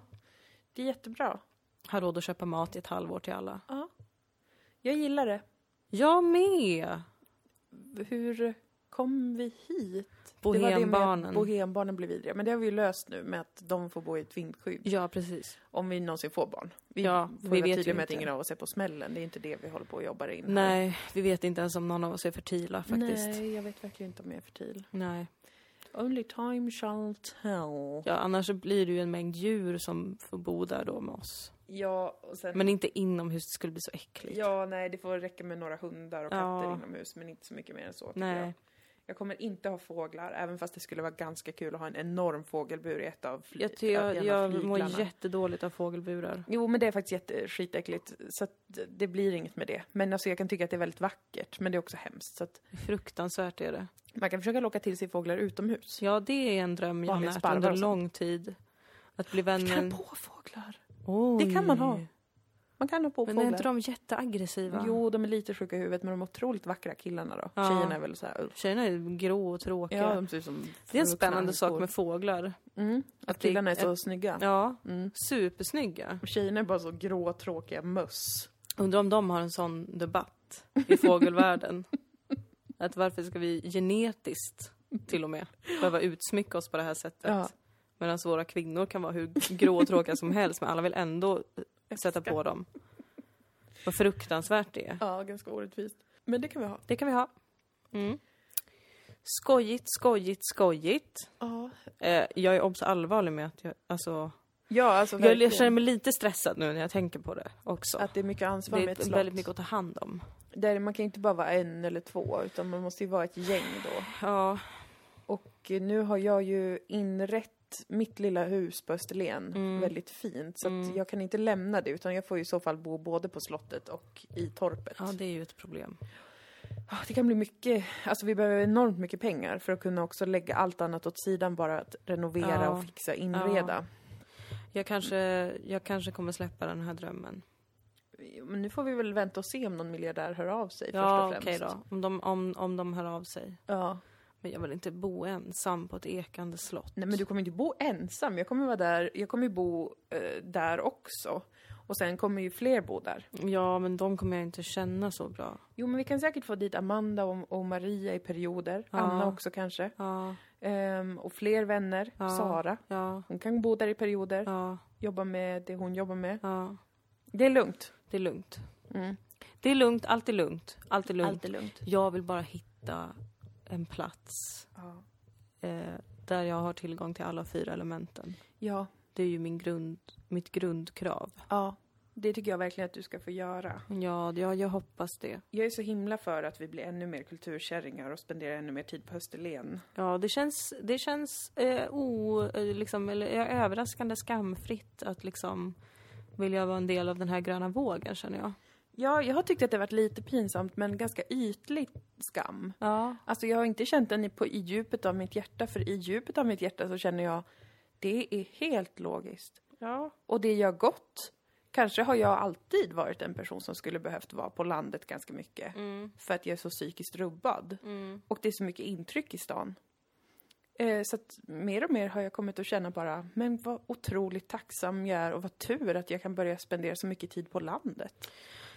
B: Det är jättebra.
A: Har råd att köpa mat i ett halvår till alla.
B: Ja. Jag gillar det.
A: Jag med!
B: Hur kom vi hit? Det var det
A: Bohembarnen.
B: med bohembarnen blev vidriga. Men det har vi ju löst nu med att de får bo i ett vindskydd.
A: Ja, precis.
B: Om vi någonsin får barn. Vi
A: Ja,
B: får
A: vi
B: vi vara
A: vet
B: tydliga
A: ju
B: med att
A: inte.
B: ingen av oss är på smällen. Det är inte det vi håller på och jobbar in. här.
A: Nej, vi vet inte ens om någon av oss är fertila faktiskt. Nej.
B: Nej, jag vet verkligen inte om jag är fertil.
A: Nej.
B: Only time shall tell.
A: Ja, annars så blir det ju en mängd djur som får bo där då med oss.
B: Ja, och sen...
A: Men inte inomhus, det skulle bli så äckligt.
B: Ja, nej, det får räcka med några hundar och katter
A: Ja.
B: inomhus, men inte så mycket mer än så. tycker Jag.
A: Nej.
B: jag kommer inte ha fåglar, även fast det skulle vara ganska kul att ha en enorm fågelbur i ett av fly-
A: Jag, ty- jag,
B: en av
A: jag mår
B: flyglarna.
A: jättedåligt av fågelburar.
B: Jo, men det är faktiskt jätte skitäckligt, så att det blir inget med det. Men alltså, jag kan tycka att det är väldigt vackert, men det är också hemskt. Så att
A: Fruktansvärt är det.
B: man kan försöka locka till sig fåglar utomhus.
A: Ja, det är en dröm jag har
B: Vanliga
A: närt
B: sparvar
A: under
B: och sånt.
A: lång tid. Att bli vän med
B: alltså. Kan
A: en...
B: på fåglar!
A: Oj.
B: Det kan man ha. Man kan ha på
A: Men är
B: fåglar.
A: inte de jätteaggressiva?
B: Jo, de är lite sjuka i huvudet, men de är otroligt vackra killarna då.
A: Ja.
B: Tjejerna är väl så här... "Ugh."
A: Tjejerna är grå och tråkiga.
B: Ja, de ser ut som
A: det är en
B: vuxna
A: spännande sak
B: människor.
A: med fåglar.
B: Mm, att
A: det-
B: killarna är så snygga.
A: Ja,
B: Mm.
A: supersnygga.
B: Och Tjejerna är bara så grå, tråkiga möss.
A: Undrar om de har en sån debatt i
B: *laughs*
A: fågelvärlden. Att varför ska vi genetiskt, till och med, behöva utsmycka oss på det här sättet?
B: Ja.
A: Medan våra kvinnor kan vara hur grå och tråkiga som helst, men alla vill ändå sätta på dem. Vad fruktansvärt det är.
B: Ja, ganska orättvist. Men det kan vi ha.
A: Det kan vi ha. Mm. Skojigt, skojigt, skojigt.
B: Ja,
A: Eh, jag är också allvarlig med att jag, alltså,
B: ja alltså
A: jag,
B: verkligen.
A: jag känner mig lite stressad nu när jag tänker på det också.
B: Att det är mycket ansvar
A: det
B: med ett
A: är
B: slott.
A: väldigt mycket att ta hand om.
B: Där man kan ju inte bara vara en eller två, utan man måste ju vara ett gäng då.
A: Ja,
B: Och nu har jag ju inrett mitt lilla hus på Österlen
A: Mm.
B: väldigt fint. Så att jag kan inte lämna det, utan jag får ju i så fall bo både på slottet och i torpet.
A: ja, det är ju ett problem.
B: Ja, Det kan bli mycket. Alltså vi behöver enormt mycket pengar för att kunna också lägga allt annat åt sidan, bara att renovera
A: Ja.
B: och fixa, inreda.
A: Jag kanske, jag kanske kommer släppa den här drömmen.
B: Men nu får vi väl vänta och se om någon miljardär hör av sig först
A: Ja,
B: och
A: okej
B: främst.
A: då. Om de, om, om de hör av sig.
B: Ja,
A: Men jag vill inte bo ensam på ett ekande slott.
B: Nej men du kommer inte bo ensam. Jag kommer vara där, jag kommer ju bo eh, där också. Och sen kommer ju fler bo där.
A: Ja, men de kommer jag inte känna så bra.
B: Jo men vi kan säkert få dit Amanda och, och Maria i perioder.
A: Ja.
B: Anna också kanske.
A: Ja,
B: Ehm, och fler vänner.
A: Ja.
B: Sara.
A: ja,
B: Hon kan bo där i perioder.
A: ja,
B: Jobba med det hon jobbar med.
A: ja.
B: Det är lugnt.
A: Det är lugnt.
B: Mm.
A: Det är lugnt, allt är lugnt. Allt är lugnt.
B: Allt är lugnt.
A: Jag vill bara hitta en plats
B: Ja.
A: eh, där jag har tillgång till alla fyra elementen.
B: ja.
A: Det är ju min grund, mitt grundkrav.
B: Ja. Det tycker jag verkligen att du ska få göra.
A: Ja, ja, jag hoppas det.
B: Jag är så himla för att vi blir ännu mer kulturkärringar och spenderar ännu mer tid på Österlen.
A: Ja, det känns, det känns eh, o, eh, liksom, eller, eh, överraskande skamfritt att liksom vilja vara en del av den här gröna vågen känner jag.
B: Ja, jag har tyckt att det har varit lite pinsamt men ganska ytlig skam.
A: Ja.
B: Alltså jag har inte känt den i- på i djupet av mitt hjärta för i djupet av mitt hjärta så känner jag det är helt logiskt.
A: ja.
B: Och det gör gott. Kanske har jag alltid varit en person som skulle behövt vara på landet ganska mycket. För att jag är så psykiskt rubbad. Och det är så mycket intryck i stan. Eh, så att mer och mer har jag kommit att känna bara, men vad otroligt tacksam jag är och vad tur att jag kan börja spendera så mycket tid på landet.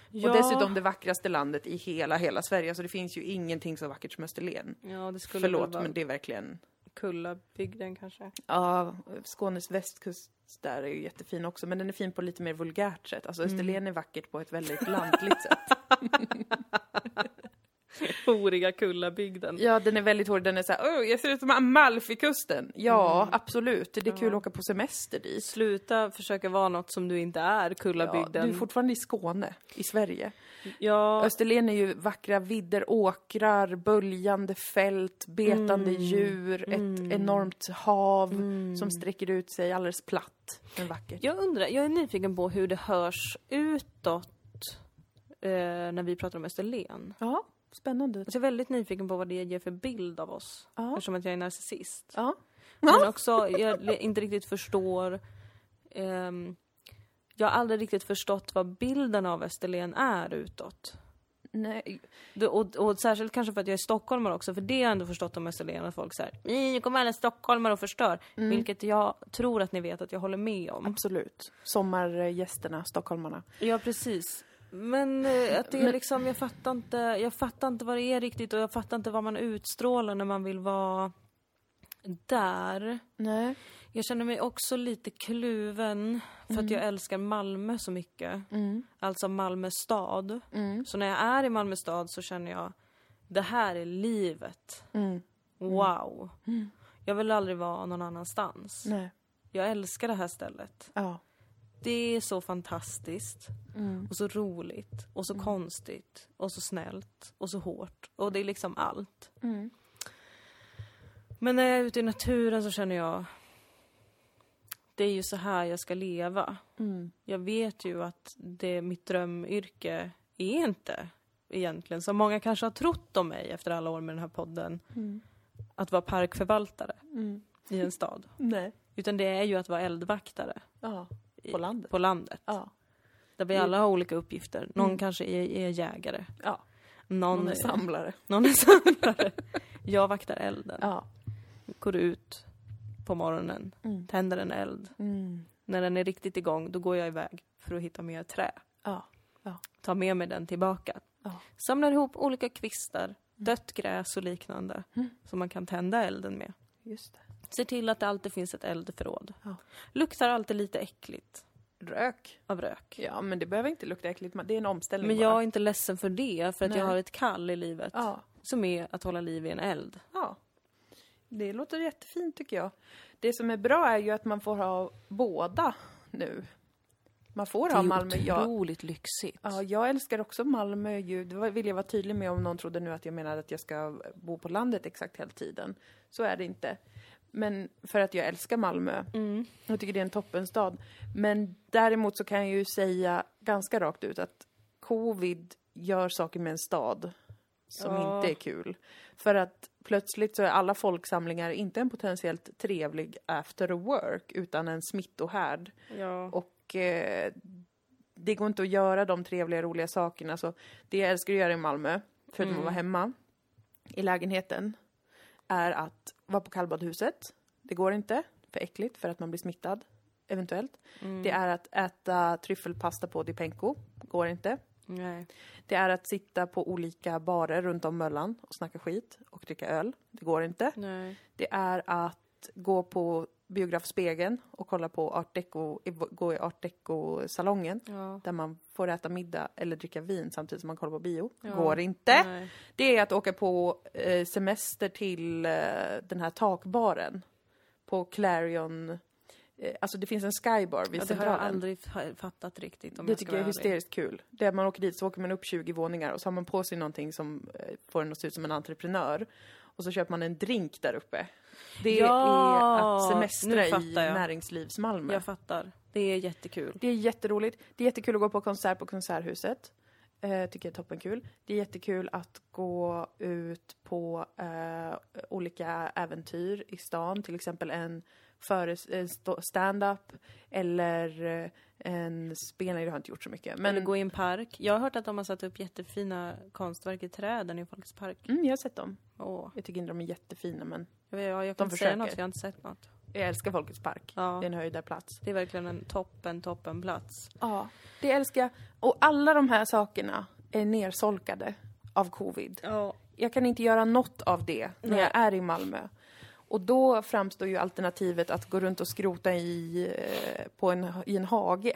B: Och dessutom det vackraste landet i hela, hela Sverige. Alltså det finns ju ingenting så vackert som Österlen.
A: Ja, det skulle
B: Förlåt,
A: väl vara
B: men det är verkligen...
A: Kullabygden kanske.
B: Ja, Skånes västkust där är ju jättefin också, men den är fin på lite mer vulgärt sätt. Alltså Österlen är vackert på ett väldigt lantligt sätt.
A: Horiga Kullabygden.
B: *laughs* Ja, den är väldigt hård. Den är såhär, åh, jag ser ut som Amalfikusten. Ja, absolut. Det är kul att åka på semester dit.
A: Sluta försöka vara något som du inte är,
B: Ja, du är
A: Kullabygden.
B: fortfarande i Skåne, i Sverige.
A: Ja,
B: Österlen är ju vackra vidder, åkrar, böljande fält, betande djur, ett enormt hav som sträcker ut sig alldeles platt, men vackert.
A: jag undrar, jag är nyfiken på hur det hörs utåt eh, när vi pratar om Österlen.
B: Ja, spännande.
A: Alltså jag är väldigt nyfiken på vad det ger för bild av oss,
B: Ja.
A: eftersom att jag är narcissist.
B: Ja.
A: Men också, jag le- inte riktigt förstår... ehm, jag har aldrig riktigt förstått vad bilden av Österlen är utåt.
B: Nej.
A: Det- Och, och särskilt kanske för att jag är stockholmare också, för det har jag ändå förstått om Österlen, att folk säger nu kommer alla stockholmare och förstör. Vilket jag tror att ni vet att jag håller med om.
B: Absolut. Sommargästerna, stockholmarna.
A: Ja, precis. Men eh, att det är liksom, jag fattar, inte, jag fattar inte vad det är riktigt och jag fattar inte vad man utstrålar när man vill vara där.
B: Nej.
A: Jag känner mig också lite kluven för att jag älskar Malmö så mycket. Alltså Malmö stad. Så när jag är i Malmö stad så känner jag, det här är livet. Wow. Jag vill aldrig vara någon annanstans.
B: Nej.
A: Jag älskar det här stället.
B: Ja.
A: Det är så fantastiskt.
B: Mm.
A: Och så roligt. Och så konstigt. Och så snällt. Och så hårt. Och det är liksom allt.
B: Mm.
A: Men när jag är ute i naturen så känner jag... Det är ju så här jag ska leva.
B: Mm.
A: Jag vet ju att det, mitt drömyrke är inte egentligen, som många kanske har trott om mig efter alla år med den här podden,
B: Mm.
A: att vara parkförvaltare i en stad.
B: Nej.
A: Utan det är ju att vara eldvaktare
B: Ja. På landet.
A: på landet.
B: Ja.
A: Där
B: Mm.
A: vi alla har olika uppgifter. Någon kanske är, är jägare.
B: Ja.
A: Någon,
B: Mm. Någon är samlare.
A: *laughs* någon är samlare. Jag vaktar elden.
B: Ja.
A: Går ut på morgonen,
B: Mm.
A: tänder en eld. När den är riktigt igång, då går jag iväg för att hitta mer trä.
B: Ja.
A: Tar med mig den tillbaka.
B: Ja. Mm.
A: Samlar ihop olika kvistar, dött gräs och liknande som man kan tända elden med.
B: Just det.
A: Ser till att det alltid finns ett eldförråd.
B: Ja.
A: Luktar alltid lite äckligt
B: Rök.
A: av rök.
B: Ja, men det behöver inte lukta äckligt. man- Det är en omställning
A: Men
B: bara.
A: jag är inte ledsen för det, för att jag
B: Nej.
A: har ett kall i livet.
B: Ja.
A: Som är att hålla liv i en eld.
B: Ja. Det låter jättefint tycker jag. Det som är bra är ju att man får ha båda nu. Man får ha Malmö. Jag,
A: otroligt lyxigt.
B: ja, jag älskar också Malmö ju. Det var- vill jag vara tydlig med om någon trodde nu att jag menade att jag ska bo på landet exakt hela tiden. Så är det inte. Men för att jag älskar Malmö. Jag tycker det är en toppenstad. Men däremot så kan jag ju säga ganska rakt ut att covid gör saker med en stad som
A: Ja.
B: inte är kul. För att plötsligt så är alla folksamlingar inte en potentiellt trevlig after work utan en smittohärd.
A: Ja.
B: Och eh, det går inte att göra de trevliga, roliga sakerna. Så det jag älskar att göra i Malmö, förutom att vara hemma i lägenheten, är att vara på kallbadhuset. Det går inte, för äckligt, för att man blir smittad. Eventuellt. Det är att äta tryffelpasta på Dipenko. Går inte.
A: Nej.
B: Det är att sitta på olika barer runt om Möllan och snacka skit och dricka öl. Det går inte.
A: Nej.
B: Det är att gå på Biografspegeln och kolla på art deco, i- gå i art deco-salongen
A: Ja.
B: där man får äta middag eller dricka vin samtidigt som man kollar på bio.
A: Ja. Mm.
B: Går inte.
A: Nej.
B: Det är att åka på eh, semester till eh, den här takbaren på Clarion. Eh, alltså det finns en skybar vid
A: Ja, det har jag
B: Centralen.
A: aldrig fa- fattat riktigt om
B: Det
A: jag ska
B: tycker jag är
A: vara ärlig.
B: hysteriskt kul. Det är att man åker dit så åker man upp 20 våningar och så har man på sig någonting som eh, får en att se ut som en entreprenör. Och så köper man en drink där uppe. Det är
A: Ja,
B: att
A: nu
B: semestra
A: fattar
B: i
A: jag.
B: näringslivsmalmö.
A: Jag fattar. Det är jättekul.
B: Det är jätteroligt. Det är jättekul att gå på konsert på Konserthuset. Eh, tycker jag är toppenkul. Det är jättekul att gå ut på eh, olika äventyr i stan. Till exempel en föres- en stå- stand-up eller eh, en spelning. Det har jag inte gjort så mycket.
A: Men...
B: Men
A: Eller gå i en park. Jag har hört att de har satt upp jättefina konstverk i träden i Folkets park.
B: mm, jag har sett dem.
A: Åh.
B: Jag tycker inte de är jättefina men
A: Jag, vet, ja, jag kan
B: De
A: inte säga
B: försöker.
A: något, för jag har inte sett något.
B: jag älskar Folkets park.
A: Ja.
B: Det är en höjdarplats.
A: Det är verkligen en toppen, toppen plats.
B: Ja, det älskar jag. Och alla de här sakerna är nersolkade av covid.
A: Ja.
B: jag kan inte göra något av det när
A: Nej.
B: jag är i Malmö. Och då framstår ju alternativet att gå runt och skrota i, eh, på en, i en hage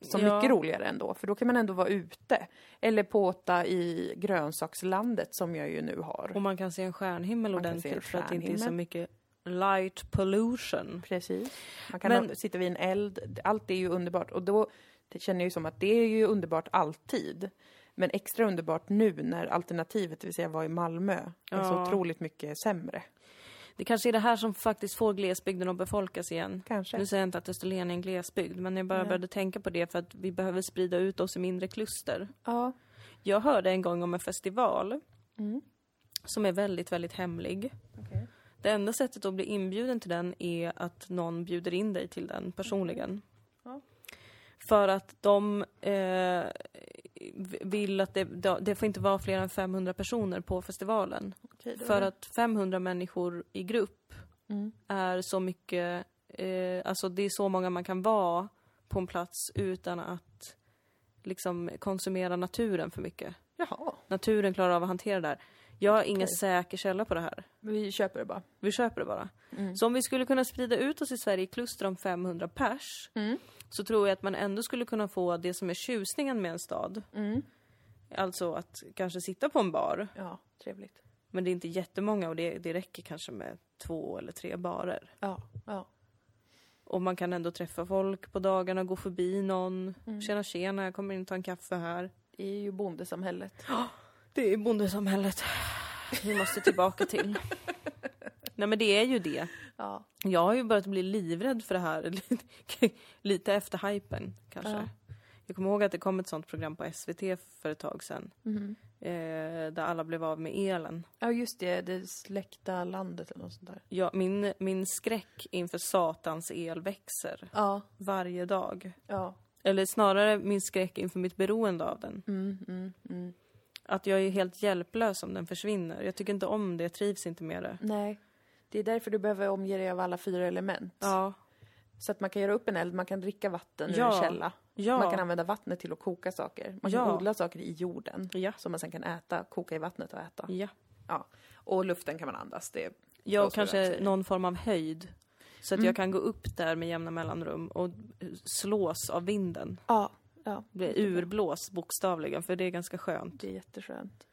B: som
A: Ja.
B: mycket roligare ändå, för då kan man ändå vara ute. Eller påta i grönsakslandet som jag ju nu har.
A: Och man kan se en stjärnhimmel
B: Man kan se en
A: ordentligt för att det inte är så
B: stjärnhimmel.
A: mycket light pollution.
B: Precis. Man kan
A: Men-
B: ha, sitta vid en eld. Allt är ju underbart. Och då det känner jag ju som att det är ju underbart alltid. Men extra underbart nu när alternativet, det vill säga vara i Malmö, är så
A: Ja.
B: otroligt mycket sämre.
A: Det kanske är det här som faktiskt får glesbygden att befolkas igen.
B: Kanske.
A: Nu säger jag inte att Österlen är en glesbygd, men jag bara började tänka på det för att vi behöver sprida ut oss i mindre kluster.
B: Ja.
A: Jag hörde en gång om en festival
B: Mm.
A: som är väldigt, väldigt hemlig. Det enda sättet att bli inbjuden till den är att någon bjuder in dig till den personligen.
B: Mm. Ja.
A: För att de eh, vill att det, det får inte vara fler än 500 personer på festivalen.
B: Okej, då är
A: För
B: det-
A: att 500 människor i grupp
B: Mm.
A: är så mycket, eh, alltså det är så många man kan vara på en plats utan att liksom konsumera naturen för mycket.
B: Jaha.
A: Naturen klarar av att hantera det här. Jag har ingen
B: Okej.
A: säker källa på det här.
B: Vi köper det bara.
A: Vi köper det bara. Så om vi skulle kunna sprida ut oss i Sverige i kluster om 500 pers så tror jag att man ändå skulle kunna få det som är tjusningen med en stad.
B: Mm.
A: Alltså att kanske sitta på en bar.
B: Ja, trevligt.
A: Men det är inte jättemånga och det, det räcker kanske med två eller tre barer.
B: Ja, ja.
A: Och man kan ändå träffa folk på dagarna, gå förbi någon. Tjena tjena, jag kommer in och ta en kaffe här.
B: Det är ju bondesamhället.
A: Det är bondesamhället vi måste tillbaka *laughs* till. Nej men det är ju det.
B: Ja.
A: Jag har ju börjat bli livrädd för det här. *laughs* Lite efter hypen kanske.
B: Ja.
A: Jag kommer ihåg att det kom ett sånt program på SVT för ett tag sedan.
B: Mm.
A: Eh, där alla blev av med elen.
B: Ja, just det. Det släckta landet eller något sånt där.
A: Jag, min, min skräck inför satans el växer
B: Ja,
A: varje dag.
B: ja.
A: Eller snarare min skräck inför mitt beroende av den.
B: Mm,
A: Att jag är helt hjälplös om den försvinner. Jag tycker inte om det, jag trivs inte med det.
B: Nej. Det är därför du behöver omge dig av alla fyra element.
A: Ja.
B: Så att man kan göra upp en eld, man kan dricka vatten ur
A: Ja.
B: en källa.
A: Ja.
B: Man kan använda vattnet till att koka saker. Man kan
A: Ja.
B: odla saker i jorden.
A: Ja.
B: Som man sen kan äta, koka i vattnet och äta.
A: ja.
B: Ja. Och luften kan man andas. Det är
A: Jag
B: så
A: har
B: som jag
A: kanske
B: säger. Mm.
A: någon form av höjd. Så att jag kan gå upp där med jämna mellanrum och slås av vinden.
B: Ja, ja.
A: Bli urblås bokstavligen, för det är ganska skönt.
B: Det är jätteskönt.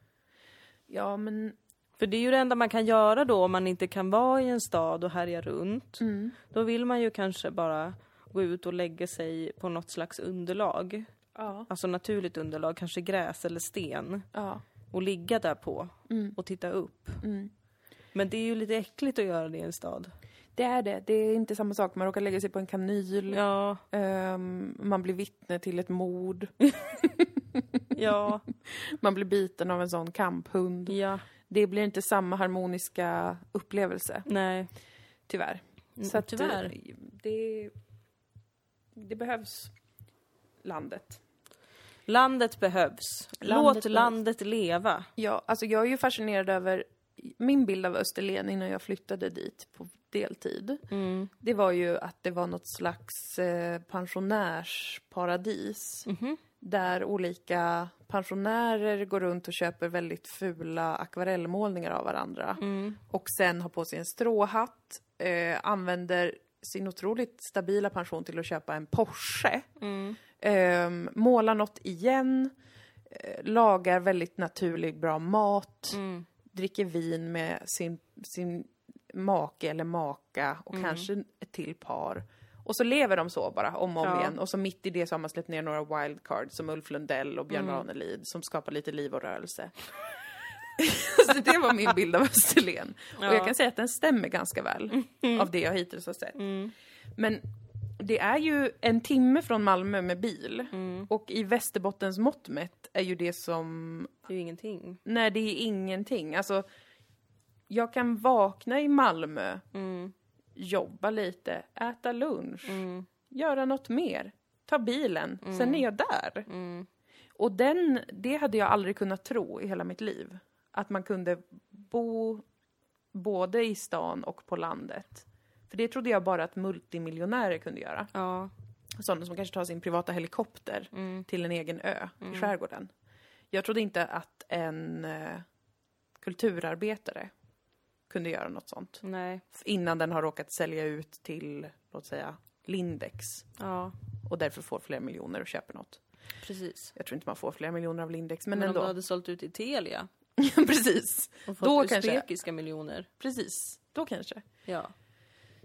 B: Ja, men
A: För det är ju det enda man kan göra då om man inte kan vara i en stad och härja runt.
B: Mm.
A: Då vill man ju kanske bara gå ut och lägga sig på något slags underlag.
B: ja.
A: Alltså naturligt underlag, kanske gräs eller sten.
B: ja.
A: Och ligga där på och titta upp. Men det är ju lite äckligt att göra det i en stad.
B: Det är det. Det är inte samma sak. Man råkar lägga sig på en kanyl.
A: Ja,
B: Ehm, man blir vittne till ett mord.
A: ja,
B: Man blir biten av en sån kamphund.
A: ja,
B: Det blir inte samma harmoniska upplevelse,
A: nej.
B: tyvärr.
A: Mm,
B: att,
A: tyvärr.
B: eh, Det, det behövs landet.
A: Landet behövs.
B: Landet
A: Låt
B: behövs.
A: landet leva.
B: Ja, alltså jag är ju fascinerad över min bild av Österlen innan jag flyttade dit på deltid, det var ju att det var något slags eh, pensionärsparadis. Där olika pensionärer går runt och köper väldigt fula akvarellmålningar av varandra. Och sen har på sig en stråhatt, eh, använder sin otroligt stabila pension till att köpa en Porsche. Eh, målar något igen, eh, lagar väldigt naturlig, bra mat dricker vin med sin, sin make eller maka och kanske ett till par. Och så lever de så bara om och om
A: Ja.
B: igen. Och så mitt i det så har man släppt ner några wildcards som Ulf Lundell och Björn Ranelid som skapar lite liv och rörelse. så det var min bild av Österlen. Och jag kan säga att den stämmer ganska väl av det jag hittills har sett. Men det är ju en timme från Malmö med bil. Och i Västerbottens mått mätt är ju det som
A: Det är ju ingenting.
B: Nej, det är ingenting. Alltså, jag kan vakna i Malmö, jobba lite, äta lunch, göra något mer, ta bilen, sen är jag där. Och den, det hade jag aldrig kunnat tro i hela mitt liv. Att man kunde bo både i stan och på landet. För det trodde jag bara att multimiljonärer kunde göra.
A: Ja.
B: Sådana som kanske tar sin privata helikopter till en egen ö i
A: Mm.
B: skärgården. Jag trodde inte att en eh, kulturarbetare kunde göra något sånt.
A: Nej.
B: Innan den har råkat sälja ut till, låt säga, Lindex.
A: Ja.
B: Och därför får fler miljoner och köper något.
A: Precis.
B: Jag tror inte man får fler miljoner av Lindex, men,
A: Men om du
B: ändå.
A: hade sålt ut i Telia
B: *laughs* precis.
A: och fått
B: Då kanske.
A: usbekiska miljoner.
B: Precis. Då kanske.
A: Ja.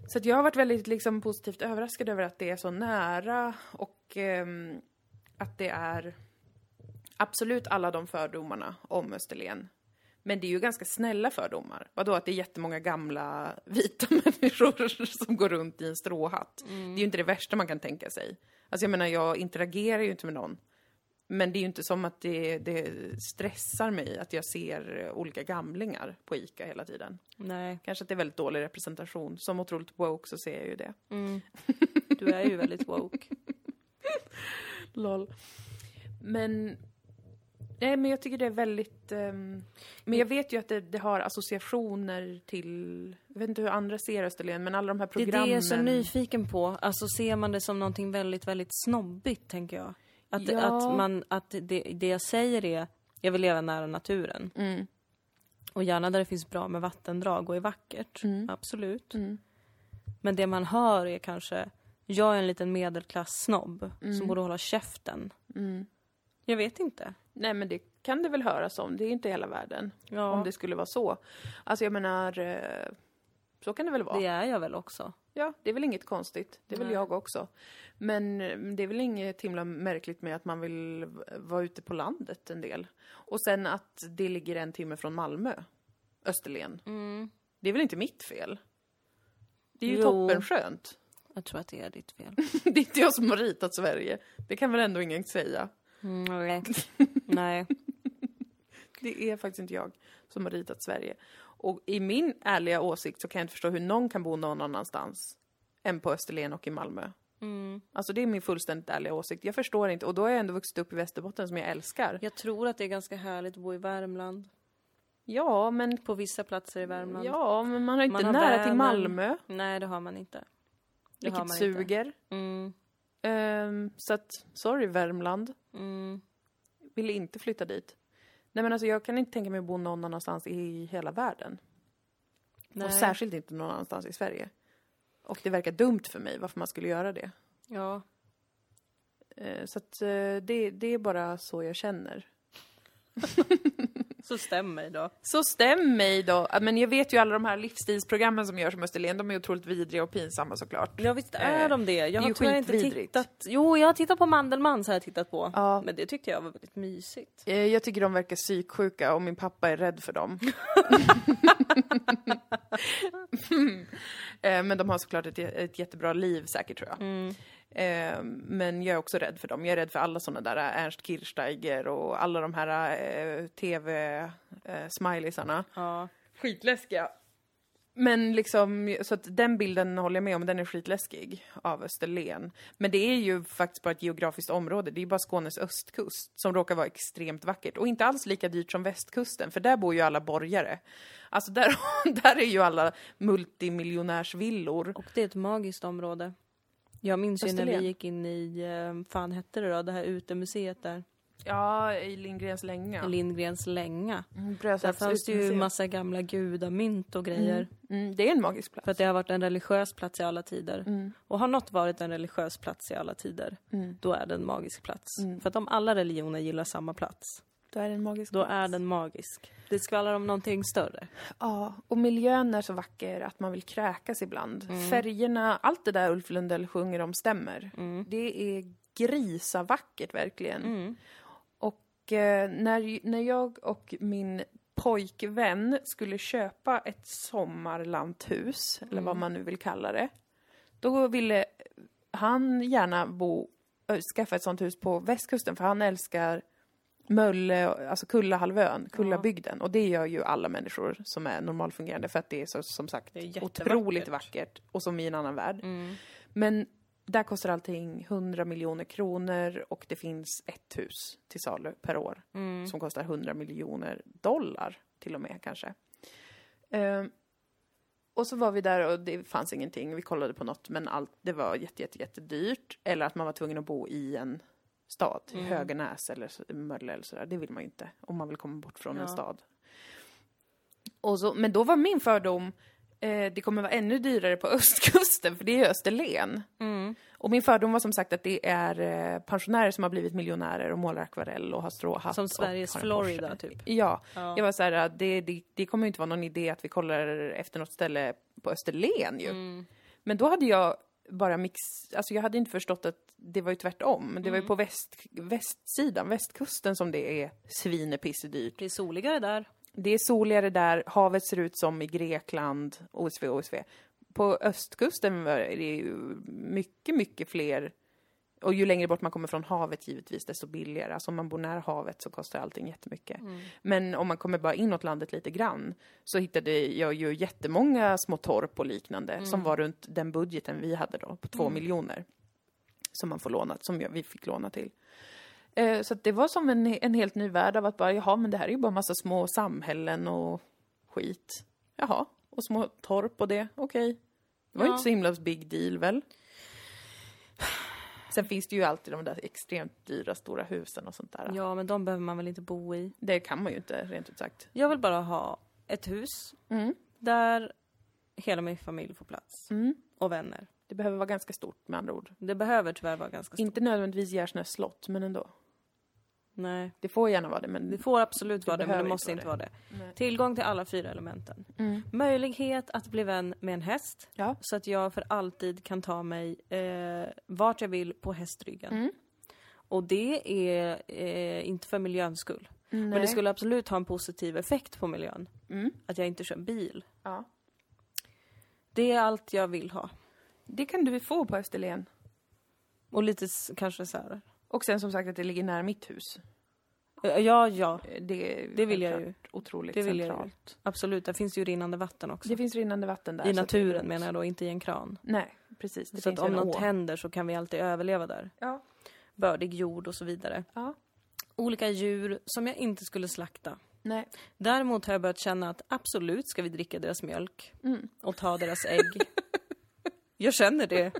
B: Så att jag har varit väldigt liksom, positivt överraskad över att det är så nära och ehm, att det är absolut alla de fördomarna om Österlen. Men det är ju ganska snälla fördomar. Vadå att det är jättemånga gamla *laughs* vita människor *laughs* som går runt i en stråhatt? Det är ju inte det värsta man kan tänka sig. Alltså jag menar, jag interagerar ju inte med någon. Men det är ju inte som att det, det stressar mig att jag ser olika gamlingar på ICA hela tiden.
A: Nej.
B: Kanske att det är väldigt dålig representation. Som otroligt woke så ser jag ju det.
A: Mm. Du är ju väldigt woke.
B: Lol. Men... Nej, men jag tycker det är väldigt... ehm, men jag vet ju att det, det har associationer till... Jag vet inte hur andra ser Österlen, men alla de här
A: Det är
B: programmen...
A: det jag är så nyfiken på. Alltså ser man det som någonting väldigt, väldigt snobbigt tänker jag. Att,
B: Ja.
A: att, man, att det, det jag säger är, jag vill leva nära naturen.
B: Mm.
A: Och gärna där det finns bra med vattendrag och är vackert.
B: Mm.
A: Absolut. Men det man hör är kanske, jag är en liten medelklassnobb
B: Mm.
A: som borde hålla käften. Jag vet inte.
B: Nej, men det kan det väl höras om. Det är ju inte hela världen.
A: Ja.
B: Om det skulle vara så. Alltså, jag menar... eh, så kan det väl vara.
A: Det är jag väl också.
B: Ja, det är väl inget konstigt. Det är väl jag också. Men eh, det är väl inget himla märkligt med att man vill v- vara ute på landet en del. Och sen att det ligger en timme från Malmö, Österlen. Det är väl inte mitt fel? Mm. Det är ju
A: Jo.
B: toppenskönt.
A: Jag tror att det är ditt fel.
B: *laughs* Det är inte jag som har ritat Sverige. Det kan väl ändå ingen säga.
A: Mm, nej.
B: *laughs*
A: nej.
B: Det är faktiskt inte jag som har ritat Sverige. Och i min ärliga åsikt så kan jag inte förstå hur någon kan bo någon annanstans än på Österlen och i Malmö.
A: Mm.
B: Alltså det är min fullständigt ärliga åsikt. Jag förstår inte. Och då har jag ändå vuxit upp i Västerbotten som jag älskar.
A: Jag tror att det är ganska härligt att bo i Värmland.
B: Ja, men,
A: På vissa platser i Värmland.
B: ja, men man har inte
A: Man har
B: nära till
A: Vänern.
B: Malmö,
A: Nej, det har man inte. Det har
B: vilket
A: man
B: suger.
A: Inte. Mm,
B: Ehm, så att, sorry Värmland.
A: mm.
B: Vill inte flytta dit. Nej men alltså jag kan inte tänka mig att bo någon annanstans i hela världen.
A: Nej.
B: Och särskilt inte någon annanstans i Sverige. Och det verkar dumt för mig varför man skulle göra det.
A: Ja.
B: Eh, Så att eh, det, det är bara så jag känner.
A: Så stäm mig då.
B: Så stäm mig då! Ja, Men jag vet ju alla de här livsstilsprogrammen som görs om Österlen, de är otroligt vidriga och pinsamma såklart.
A: Ja visst är
B: Eh,
A: de det. Jag
B: det är
A: har
B: ju
A: tyvärr inte
B: skitvidrigt.
A: tittat. Jo, jag har tittat på Mandelmann så har jag tittat på.
B: Ja.
A: Men det tyckte jag var väldigt mysigt.
B: Eh, Jag tycker de verkar psyksjuka och min pappa är rädd för dem. *laughs* Eh, Men de har såklart ett, ett jättebra liv säkert tror jag. Eh, Men jag är också rädd för dem. Jag är rädd för alla sådana där eh, Ernst Kirchsteiger och alla de här eh, TV-smileysarna.
A: Ja.
B: Skitläskiga. Men liksom, så att den bilden håller jag med om, den är skitläskig av Österlen. Men det är ju faktiskt bara ett geografiskt område, det är ju bara Skånes östkust som råkar vara extremt vackert. Och inte alls lika dyrt som västkusten, för där bor ju alla borgare. Alltså där, *laughs* där är ju alla multimiljonärsvillor.
A: Och det är ett magiskt område. Jag minns ju när
B: Österlen.
A: vi gick in i, eh, fan hette det då, det här utemuseet där.
B: Ja, i Lindgrens länga.
A: Lindgrens länga.
B: Mm,
A: Där fanns det ju
B: Brösarpsutmuseet.
A: massa gamla gudamynt och grejer.
B: Mm, det är en magisk plats.
A: För att det har varit en religiös plats i alla tider. Och har något varit en religiös plats i alla tider, då är det en magisk plats. För att om alla religioner gillar samma plats,
B: Då är det en magisk
A: då är den magisk. Det skvallrar om någonting större.
B: Ja, och miljön är så vacker att man vill kräkas ibland. Färgerna, allt det där Ulf Lundell sjunger om stämmer. Det är grisavackert verkligen. Och eh, när, när jag och min pojkvän skulle köpa ett sommarlanthus, eller vad man nu vill kalla det, då ville han gärna bo, ö, skaffa ett sånt hus på västkusten för han älskar Mölle, alltså Kullahalvön, Kullabygden. Och det gör ju alla människor som är normalfungerande för att det är så, som sagt
A: Det är jättevackert. Mm.
B: otroligt vackert och som i en annan värld. Men där kostar allting 100 miljoner kronor och det finns ett hus till salu per år
A: Mm.
B: som kostar 100 miljoner dollar till och med kanske. Ehm, och så var vi där och det fanns ingenting. Vi kollade på något men allt, det var jätte, jätte, jättedyrt. Eller att man var tvungen att bo i en stad, i
A: Mm.
B: Höganäs eller så- Mölle eller sådär. Det vill man ju inte om man vill komma bort från
A: Ja.
B: en stad. Och så, men då var min fördom, eh, det kommer vara ännu dyrare på *laughs* östkusten för det är ju Österlen. Och min fördom var som sagt att det är eh, pensionärer som har blivit miljonärer och målar akvarell och har stråhatt.
A: Som
B: och
A: Sveriges
B: har en
A: Florida,
B: Porsche.
A: typ.
B: Ja. Jag var så här, det, det, det kommer ju inte vara någon idé att vi kollar efter något ställe på Österlen ju. Men då hade jag bara mix, alltså jag hade inte förstått att det var ju tvärtom. Det var ju på väst, västsidan, västkusten som det är svinepissedyrt.
A: Det är soligare där.
B: Det är soligare där, havet ser ut som i Grekland, OSV, OSV. På östkusten var- är det ju mycket, mycket fler. Och ju längre bort man kommer från havet givetvis, desto billigare. Alltså om man bor nära havet så kostar allting jättemycket. Men om man kommer bara inåt landet lite grann så hittade jag ju jättemånga små torp och liknande som var runt den budgeten vi hade då, på två miljoner. Som man får låna, som jag- vi fick låna till. Eh, Så att det var som en, en helt ny värld av att bara, jaha, men det här är ju bara massa små samhällen och skit. Jaha, och små torp och det, okej. Det var ju
A: Ja.
B: inte så himla big deal väl? Sen finns det ju alltid de där extremt dyra stora husen och sånt där.
A: Ja, men de behöver man väl inte bo i.
B: Det kan man ju inte, rent ut sagt.
A: Jag vill bara ha ett hus där hela min familj får plats. Och vänner.
B: Mm. Det behöver vara ganska stort med andra ord.
A: Det behöver tyvärr vara ganska stort.
B: Inte nödvändigtvis Gärsnäs slott, men ändå.
A: Nej.
B: Det får gärna vara det, men
A: Det får absolut vara det, men
B: behöver
A: det
B: inte
A: måste
B: vara
A: inte vara det. Tillgång till alla fyra elementen.
B: Mm.
A: Möjlighet att bli vän med en häst.
B: Ja.
A: Så att jag för alltid kan ta mig eh, vart jag vill på hästryggen.
B: Mm.
A: Och det är eh, inte för miljöns skull. Men det
B: Nej.
A: skulle absolut ha en positiv effekt på miljön.
B: Mm.
A: Att jag inte kör bil.
B: Ja.
A: Det är allt jag vill ha.
B: Det kan du få på Österlen.
A: Och lite s- kanske så här.
B: Och sen som sagt att det ligger nära mitt hus.
A: Eh, Ja, ja.
B: Eh, Det, är
A: Det vill jag
B: självklart Otroligt
A: Det vill jag ju.
B: centralt.
A: Absolut. Där finns ju rinnande vatten också.
B: Det finns rinnande vatten där. så
A: I
B: att det är
A: naturen
B: lugnt.
A: menar jag då, inte i en kran.
B: Nej, precis. Det
A: så att
B: finns
A: om
B: en å.
A: något händer så kan vi alltid överleva där.
B: Ja.
A: bördig jord och så vidare.
B: ja.
A: Olika djur som jag inte skulle slakta.
B: Nej.
A: Däremot har jag börjat känna att absolut ska vi dricka deras mjölk
B: Mm.
A: och ta deras
B: *laughs*
A: ägg. jag känner det.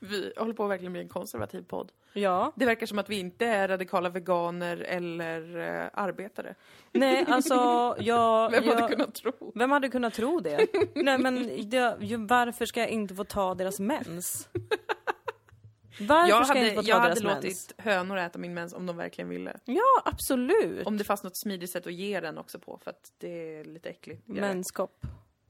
B: Vi håller på att verkligen bli en konservativ podd.
A: Ja.
B: Det verkar som att vi inte är radikala veganer eller eh, arbetare.
A: Nej, alltså jag...
B: Vem hade
A: jag-
B: kunnat tro?
A: Vem hade kunnat tro det? Nej men det, ju, varför ska jag inte få ta deras
B: *laughs*
A: mens? Varför
B: Jag
A: ska jag
B: hade,
A: inte få ta
B: jag hade
A: deras
B: låtit
A: mens?
B: hönor äta min mens om de verkligen ville.
A: Ja, absolut.
B: Om det fanns något smidigt sätt att ge den också på för att det är lite äckligt.
A: Menskopp.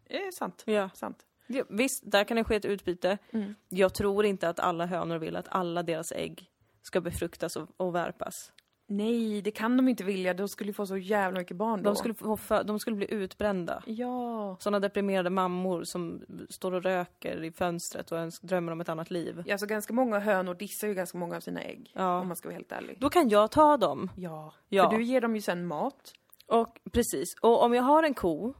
B: Det är sant.
A: Ja.
B: Sant.
A: Ja, Visst, där kan det ske ett utbyte.
B: Mm.
A: Jag tror inte att alla hönor vill att alla deras ägg ska befruktas och, och värpas.
B: Nej, det kan de inte vilja. De skulle ju få så jävla mycket barn då.
A: De skulle, få fö- de skulle bli utbrända.
B: Ja.
A: Sådana deprimerade mammor som står och röker i fönstret och öns- drömmer om ett annat liv.
B: Ja, så ganska många hönor dissar ju ganska många av sina ägg.
A: Ja.
B: Om man ska vara helt ärlig.
A: Då kan jag ta dem.
B: Ja.
A: Ja.
B: För du ger dem ju sen mat. Mm.
A: Och precis, och om jag har en ko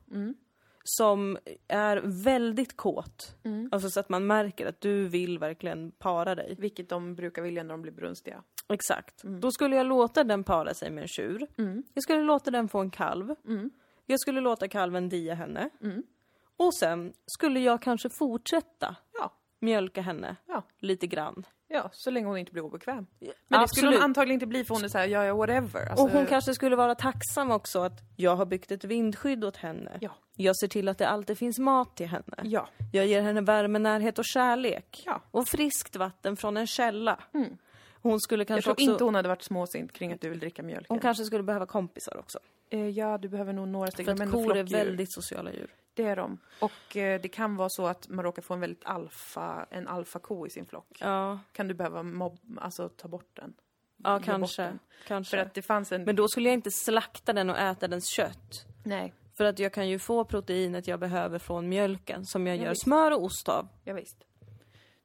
A: som är väldigt kåt.
B: Mm.
A: Alltså så att man märker att du vill verkligen para dig.
B: Vilket de brukar vilja när de blir brunstiga.
A: Exakt.
B: Mm.
A: Då skulle jag låta den para sig med en tjur. Jag skulle låta den få en kalv.
B: Mm.
A: Jag skulle låta kalven dia henne. Och sen skulle jag kanske fortsätta
B: Ja.
A: mjölka henne
B: Ja.
A: lite grann.
B: Ja, så länge hon inte blir obekväm. Men det skulle
A: absolut.
B: hon antagligen inte bli för hon är såhär, ja ja whatever. Alltså,
A: Och hon kanske skulle vara tacksam också att jag har byggt ett vindskydd åt henne.
B: Ja.
A: Jag ser till att det alltid finns mat till henne.
B: Ja.
A: Jag ger henne värme, närhet och kärlek.
B: Ja. Mm.
A: Och friskt vatten från en källa. Hon skulle
B: Jag
A: kanske
B: tror
A: också...
B: inte hon hade varit småsint kring att du vill dricka mjölk.
A: Hon kanske skulle behöva kompisar också.
B: Eh, ja, du behöver nog några stycken.
A: För
B: men
A: att
B: ändå
A: kor är
B: flockdjur.
A: väldigt sociala djur.
B: Det är de. Och eh, det kan vara så att man råkar få en väldigt alfa, en alfako i sin flock.
A: Ja,
B: Kan du behöva mobb, alltså ta bort den?
A: ja
B: bort
A: kanske.
B: den.
A: kanske.
B: För att det fanns en...
A: Men då skulle jag inte slakta den och äta dens kött.
B: Nej,
A: För att jag kan ju få proteinet jag behöver från mjölken som jag
B: Ja,
A: gör
B: visst.
A: smör och ost av.
B: jag visst.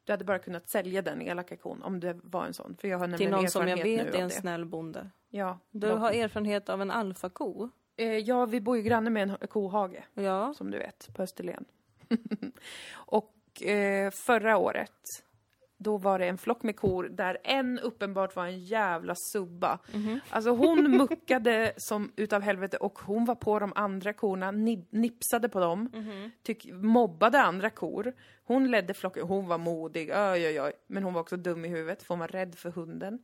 B: Du hade bara kunnat sälja den elaka kon om det var en sån. För jag har
A: Till
B: nämligen
A: någon som jag
B: erfarenhet
A: vet
B: nu
A: är
B: av
A: en
B: det.
A: snäll bonde.
B: Ja,
A: Du har erfarenhet av en alfako?
B: eh, ja, vi bor ju granne med en h- kohage.
A: Ja.
B: som du vet, på Österlen. *laughs* och eh, förra året, då var det en flock med kor där en uppenbart var en jävla subba. Alltså hon muckade som utav helvete och hon var på de andra korna, nib- nipsade på dem, tyck- mobbade andra kor. Hon ledde flocken, hon var modig, oj, oj, oj. Men hon var också dum i huvudet för hon var rädd för hunden.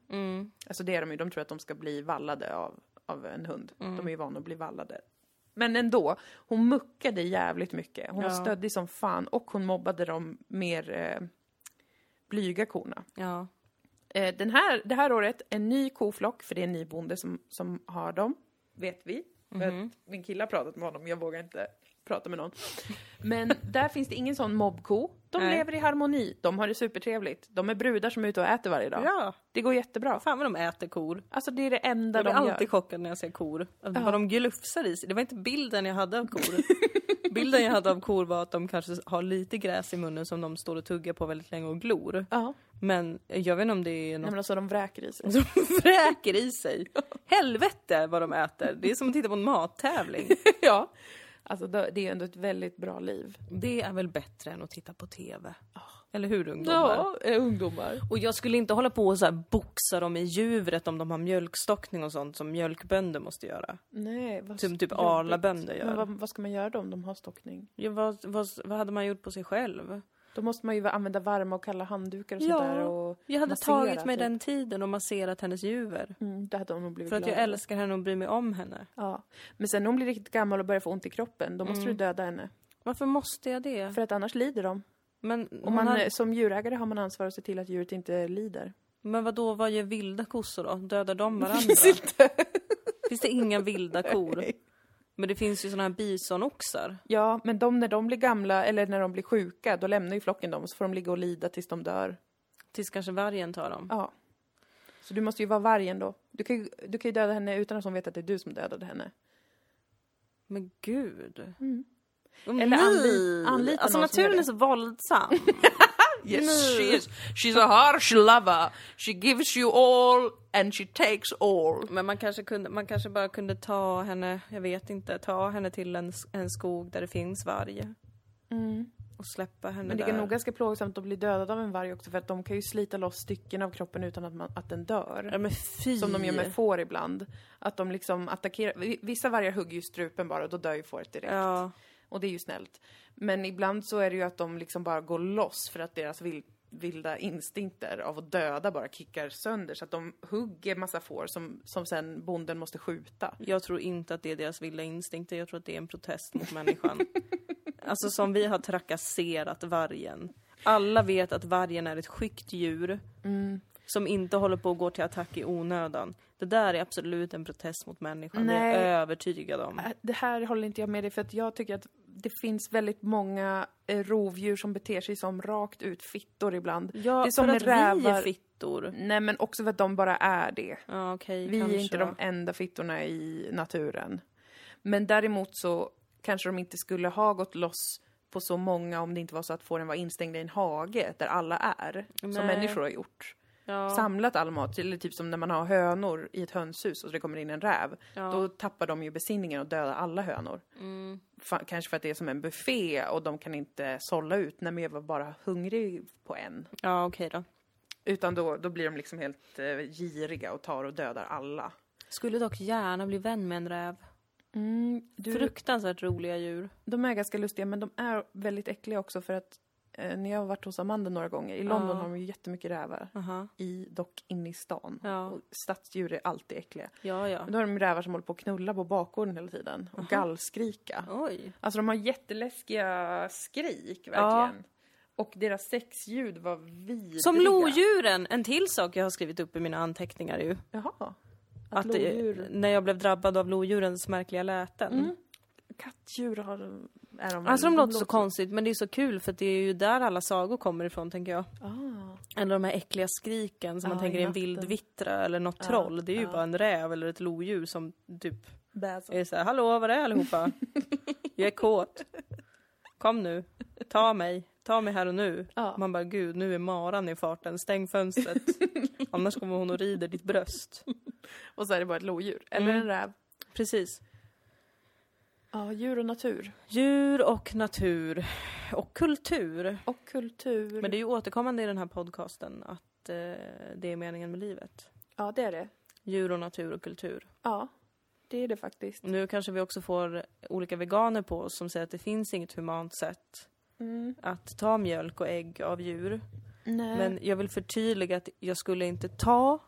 B: Alltså det är de ju, de tror att de ska bli vallade av, av en hund.
A: Mm.
B: De är ju vana att bli vallade. Men ändå, hon muckade jävligt mycket. Hon var
A: Ja.
B: stöddig som fan och hon mobbade de mer eh, blyga korna.
A: ja.
B: Eh, den här, det här året, en ny koflock, för det är en ny bonde som, som har dem, vet vi. För
A: Mhm.
B: att min kille har pratat med honom, jag vågar inte prata med någon. Men där finns det ingen sån mobbko. De
A: Nej.
B: lever i harmoni, de har det supertrevligt. De är brudar som är ute och äter varje dag.
A: Ja.
B: Det går jättebra.
A: Fan vad de äter kor.
B: Alltså det är det enda
A: Jag blir
B: de gör.
A: alltid chockad när jag ser kor. Att Vad de glufsar i sig. Det var inte bilden jag hade av
B: *laughs*
A: kor. bilden jag hade av kor var att de kanske har lite gräs i munnen som de står och tuggar på väldigt länge och glor.
B: Ja.
A: Men jag vet inte om det är
B: Nej,
A: något
B: men alltså de
A: *laughs*
B: vräker i sig.
A: de vräker i sig. Helvete vad de äter. Det är som att titta på en mattävling.
B: ja. Alltså då- det är ju ändå ett väldigt bra liv.
A: *laughs* Det är väl bättre än att titta på TV? Ah. Eller hur ungdomar?
B: Ja,
A: eh,
B: ungdomar.
A: Och jag skulle inte hålla på och så här boxa dem i djuret om de har mjölkstockning och sånt som mjölkbönder måste göra.
B: Nej, vad
A: Typ- typ
B: jobbigt.
A: arlabönder gör.
B: Men vad, vad ska man göra då om de har stockning?
A: Ja, vad, vad, vad hade man gjort på sig själv?
B: Då måste man ju använda varma och kalla handdukar och sånt där. Och
A: jag hade
B: massera,
A: tagit mig
B: typ.
A: den tiden och masserat hennes djur.
B: Mm, det hade de nog blivit
A: För att jag
B: glada.
A: älskar henne och bryr mig om henne.
B: Ja. Men sen när hon blir riktigt gammal och börjar få ont i kroppen, då
A: Mm.
B: måste du döda henne.
A: Varför måste jag det?
B: För att annars lider de.
A: Men,
B: Och
A: hon
B: man, eh,
A: hade,
B: Som djurägare har man ansvar att se till att djuret inte lider.
A: men vadå, vad gör vilda kossor då? Dödar de
B: *laughs*
A: varandra? Finns det inga vilda kor? Men det finns ju såna här bisonoxar.
B: Ja, men de, när de blir gamla eller när de blir sjuka, då lämnar ju flocken dem och så får de ligga och lida tills de dör.
A: Tills kanske vargen tar dem.
B: Ja. Så du måste ju vara vargen då. Du kan ju, du kan ju döda henne utan att hon vet att det är du som dödade henne.
A: Men gud.
B: Mm. Eller anli- anlita
A: Alltså
B: någon som gör
A: naturen är
B: det.
A: så våldsam.
B: Yes,
A: Mm.
B: she is. She's a harsh lover. She gives you all and she takes all.
A: Men man kanske, kunde, man kanske bara kunde ta henne, jag vet inte, ta henne till en, s- en skog där det finns varg. Och släppa henne
B: Mm. Men det är
A: där.
B: nog ganska plågsamt att bli dödad av en varg också för att de kan ju slita loss stycken av kroppen utan att, man, att den
A: Ja,
B: dör.
A: men fy!
B: Som de gör med får ibland. Att de liksom attackerar. vi- Vissa vargar hugger ju strupen bara och då dör ju fåret direkt.
A: Ja.
B: Och det är ju snällt. Men ibland så är det ju att de liksom bara går loss för att deras vil- vilda instinkter av att döda bara kickar sönder så att de hugger massa får som, som sen bonden måste skjuta.
A: Jag tror inte att det är deras vilda instinkter, jag tror att det är en protest mot *laughs* människan. alltså som vi har trakasserat vargen. Alla vet att vargen är ett skyggt djur som inte håller på att gå till attack i onödan. Det där är absolut en protest mot människan, det är
B: Nej.
A: jag övertygad om.
B: Äh, Det här håller inte jag med dig för att jag tycker att det finns väldigt många eh, rovdjur som beter sig som rakt ut fittor ibland.
A: Ja,
B: det är som
A: för att vi är
B: rävar.
A: fittor.
B: Nej men också för att de bara är det.
A: Ja, okej,
B: Vi
A: kanske.
B: är inte de enda fittorna i naturen. Men däremot så kanske de inte skulle ha gått loss på så många om det inte var så att fåren var instängda i en hage där alla är.
A: Nej.
B: Som människor har gjort.
A: Ja.
B: samlat all mat. Eller typ som när man har hönor i ett hönshus och det kommer in en räv.
A: ja.
B: Då tappar de ju besinningen och dödar alla hönor.
A: Mm.
B: Fa- kanske för att det är som en buffé och de kan inte sålla ut. Nej men jag var bara hungrig på en.
A: Ja, okej då.
B: Utan då, då blir de liksom helt eh, giriga och tar och dödar alla.
A: Skulle dock gärna bli vän med en räv.
B: du,
A: Fruktansvärt roliga djur.
B: de är ganska lustiga men de är väldigt äckliga också för att eh, när jag har varit hos Amanda några gånger, i London
A: Ja.
B: har de ju jättemycket rävar.
A: Aha.
B: I, dock inne i stan.
A: Ja,
B: Och stadsdjur är alltid äckliga.
A: ja, ja.
B: Men då har de rävar som håller på att knulla på bakgården hela tiden och gallskrika.
A: Oj.
B: Alltså de har jätteläskiga skrik verkligen. Och deras sexljud var vidriga.
A: Som lodjuren! En till sak jag har skrivit upp i mina anteckningar ju.
B: Jaha. Att,
A: Att det-
B: lodjur,
A: när jag blev drabbad av lodjurens märkliga läten.
B: kattdjur har, är de
A: Alltså de låter så konstigt men det är så kul för att det är ju där alla sagor kommer ifrån tänker jag.
B: Ah.
A: Eller de här äckliga skriken som man
B: Ja,
A: tänker
B: i
A: är en
B: natten.
A: vildvittra eller något troll. Det är ju
B: ja.
A: bara en räv eller ett lodjur som typ
B: Bäsa.
A: är såhär Hallå var är
B: *laughs*
A: allihopa? jag är kåt. Kom nu. Ta mig. Ta mig här och nu.
B: Ja.
A: Man bara gud nu är maran i farten. Stäng
B: *laughs*
A: fönstret. Annars kommer hon och rider ditt bröst.
B: Och så är det bara ett lodjur. Eller
A: Mm.
B: en räv.
A: Precis.
B: Ja, djur och natur.
A: Djur och natur och kultur.
B: Och kultur.
A: Men det är ju återkommande i den här podcasten att eh, det är meningen med livet.
B: Ja, det är det.
A: Djur och natur och kultur.
B: Ja, det är det faktiskt.
A: Nu kanske vi också får olika veganer på oss som säger att det finns inget humant sätt
B: Mm.
A: att ta mjölk och ägg av djur.
B: Nej.
A: Men jag vill förtydliga att jag skulle inte ta,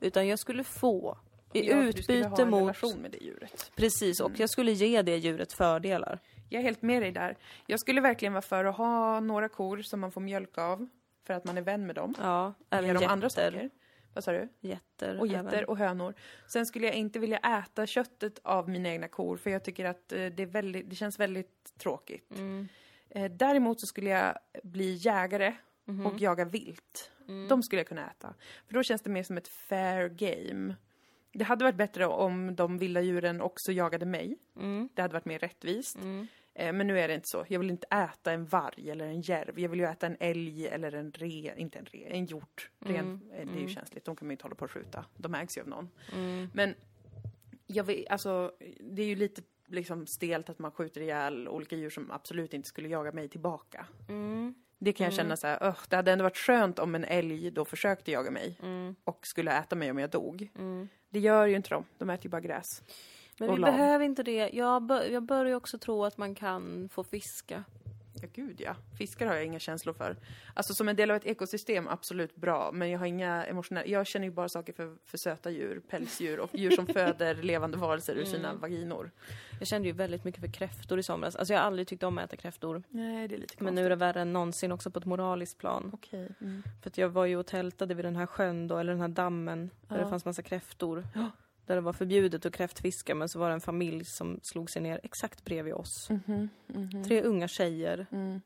A: utan jag skulle få. I
B: Ja, för du skulle ha
A: utbyte
B: en
A: mot...
B: relation Mm. med det djuret.
A: Precis, och jag skulle ge det djuret fördelar.
B: Jag är helt med dig där. Jag skulle verkligen vara för att ha några kor som man får mjölk av för att man är vän med dem.
A: Ja,
B: Ge
A: även
B: dem
A: getter.
B: andra saker. Vad sa du?
A: Getter.
B: Och
A: även.
B: getter och hönor. Sen skulle jag inte vilja äta köttet av mina egna kor för jag tycker att eh, det, är väldigt, det känns väldigt tråkigt.
A: Mm.
B: Eh, Däremot så skulle jag bli jägare och jaga vilt. De skulle jag kunna äta. För då känns det mer som ett fair game. Det hade varit bättre om de vilda djuren också jagade mig. Det hade varit mer rättvist. Eh, Men nu är det inte så. Jag vill inte äta en varg eller en järv. Jag vill ju äta en älg eller en re, inte en re, en hjort. Ren, eh, Det är ju känsligt, de kan man ju inte hålla på och skjuta. De ägs ju av någon. Men jag vill, alltså, det är ju lite liksom stelt att man skjuter ihjäl olika djur som absolut inte skulle jaga mig tillbaka. Det kan jag känna så här, "Ugh, det hade ändå varit skönt om en älg då försökte jaga mig och skulle äta mig om jag dog. Det gör ju inte de, de äter ju bara gräs.
A: Men
B: och
A: vi
B: lav.
A: behöver inte det. Jag, bör, jag börjar också tro att man kan få fiska.
B: Ja, gud ja. Fiskar har jag inga känslor för. Alltså som en del av ett ekosystem, absolut bra. Men jag har inga emotionella... Jag känner ju bara saker för, för söta djur, pälsdjur och *laughs* djur som föder levande varelser ur sina vaginor.
A: Jag kände ju väldigt mycket för kräftor i somras. Alltså jag har aldrig tyckt om att äta kräftor.
B: Nej, det är lite konstigt.
A: Men nu är det värre än någonsin också på ett moraliskt plan.
B: Okej. mm.
A: För att jag var ju och tältade vid den här sjön då, eller den här dammen, där
B: Ja.
A: det fanns massa kräftor.
B: Ja.
A: Där det var förbjudet att kräftfiska, men så var det en familj som slog sig ner exakt bredvid oss.
B: Mhm,
A: Tre unga tjejer
B: Mm.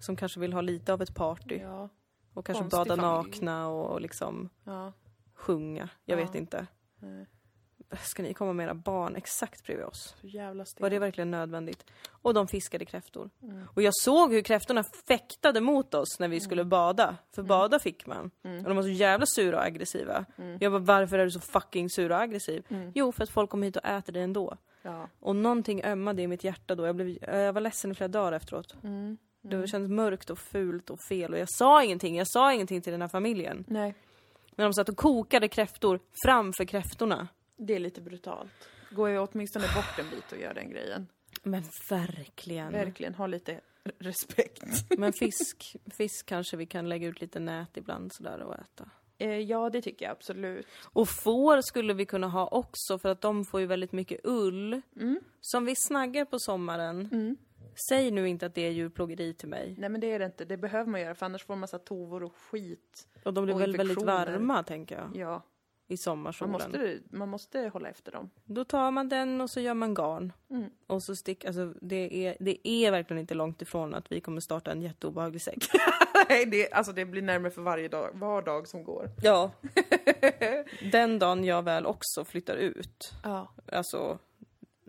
A: som kanske vill ha lite av ett party
B: Ja.
A: och kanske
B: Konstig
A: bada
B: familj.
A: nakna och, och liksom
B: ja.
A: sjunga. Jag
B: Ja.
A: vet inte.
B: Nej,
A: Ska ni komma med era barn exakt bredvid oss?
B: så jävla stelt.
A: Var det verkligen nödvändigt? Och de fiskade kräftor.
B: Mm.
A: Och jag såg hur kräftorna fäktade mot oss när vi skulle bada. För
B: Mm.
A: bada fick man. Och de var så jävla sura och aggressiva.
B: Mm.
A: Jag bara, varför är du så fucking sur och aggressiv? Jo, för att folk kommer hit och äter dig ändå.
B: Ja.
A: Och någonting ömmade i mitt hjärta då. Jag, blev, jag var ledsen i flera dagar efteråt.
B: Mm.
A: Det kändes mörkt och fult och fel. Och jag sa ingenting. Jag sa ingenting till den här familjen.
B: Nej,
A: Men de satt och kokade kräftor framför kräftorna.
B: det är lite brutalt. Gå ju åtminstone bort en bit och gör den grejen.
A: Men verkligen.
B: Verkligen, ha lite *laughs* respekt.
A: *laughs* Men fisk, fisk kanske vi kan lägga ut lite nät ibland sådär och äta.
B: Eh, ja, det tycker jag absolut.
A: Och får skulle vi kunna ha också för att de får ju väldigt mycket ull. Som vi snaggar på sommaren. Säg nu inte att det är djurplågeri till mig.
B: Nej men det är det inte, det behöver man göra för annars får man massa tovor och skit.
A: Och de blir
B: Och
A: väl väldigt
B: infektioner.
A: varma tänker jag.
B: Ja,
A: I
B: man
A: sommarsolen.
B: måste, man måste hålla efter dem.
A: Då tar man den och så gör man garn. Och så stick, alltså det är, det är verkligen inte långt ifrån att vi kommer starta en jätteobehaglig säck.
B: *laughs* Nej, det, alltså det blir närmare för varje dag, var dag som går. *laughs*
A: Ja. Den dagen jag väl också flyttar ut.
B: Ja.
A: alltså,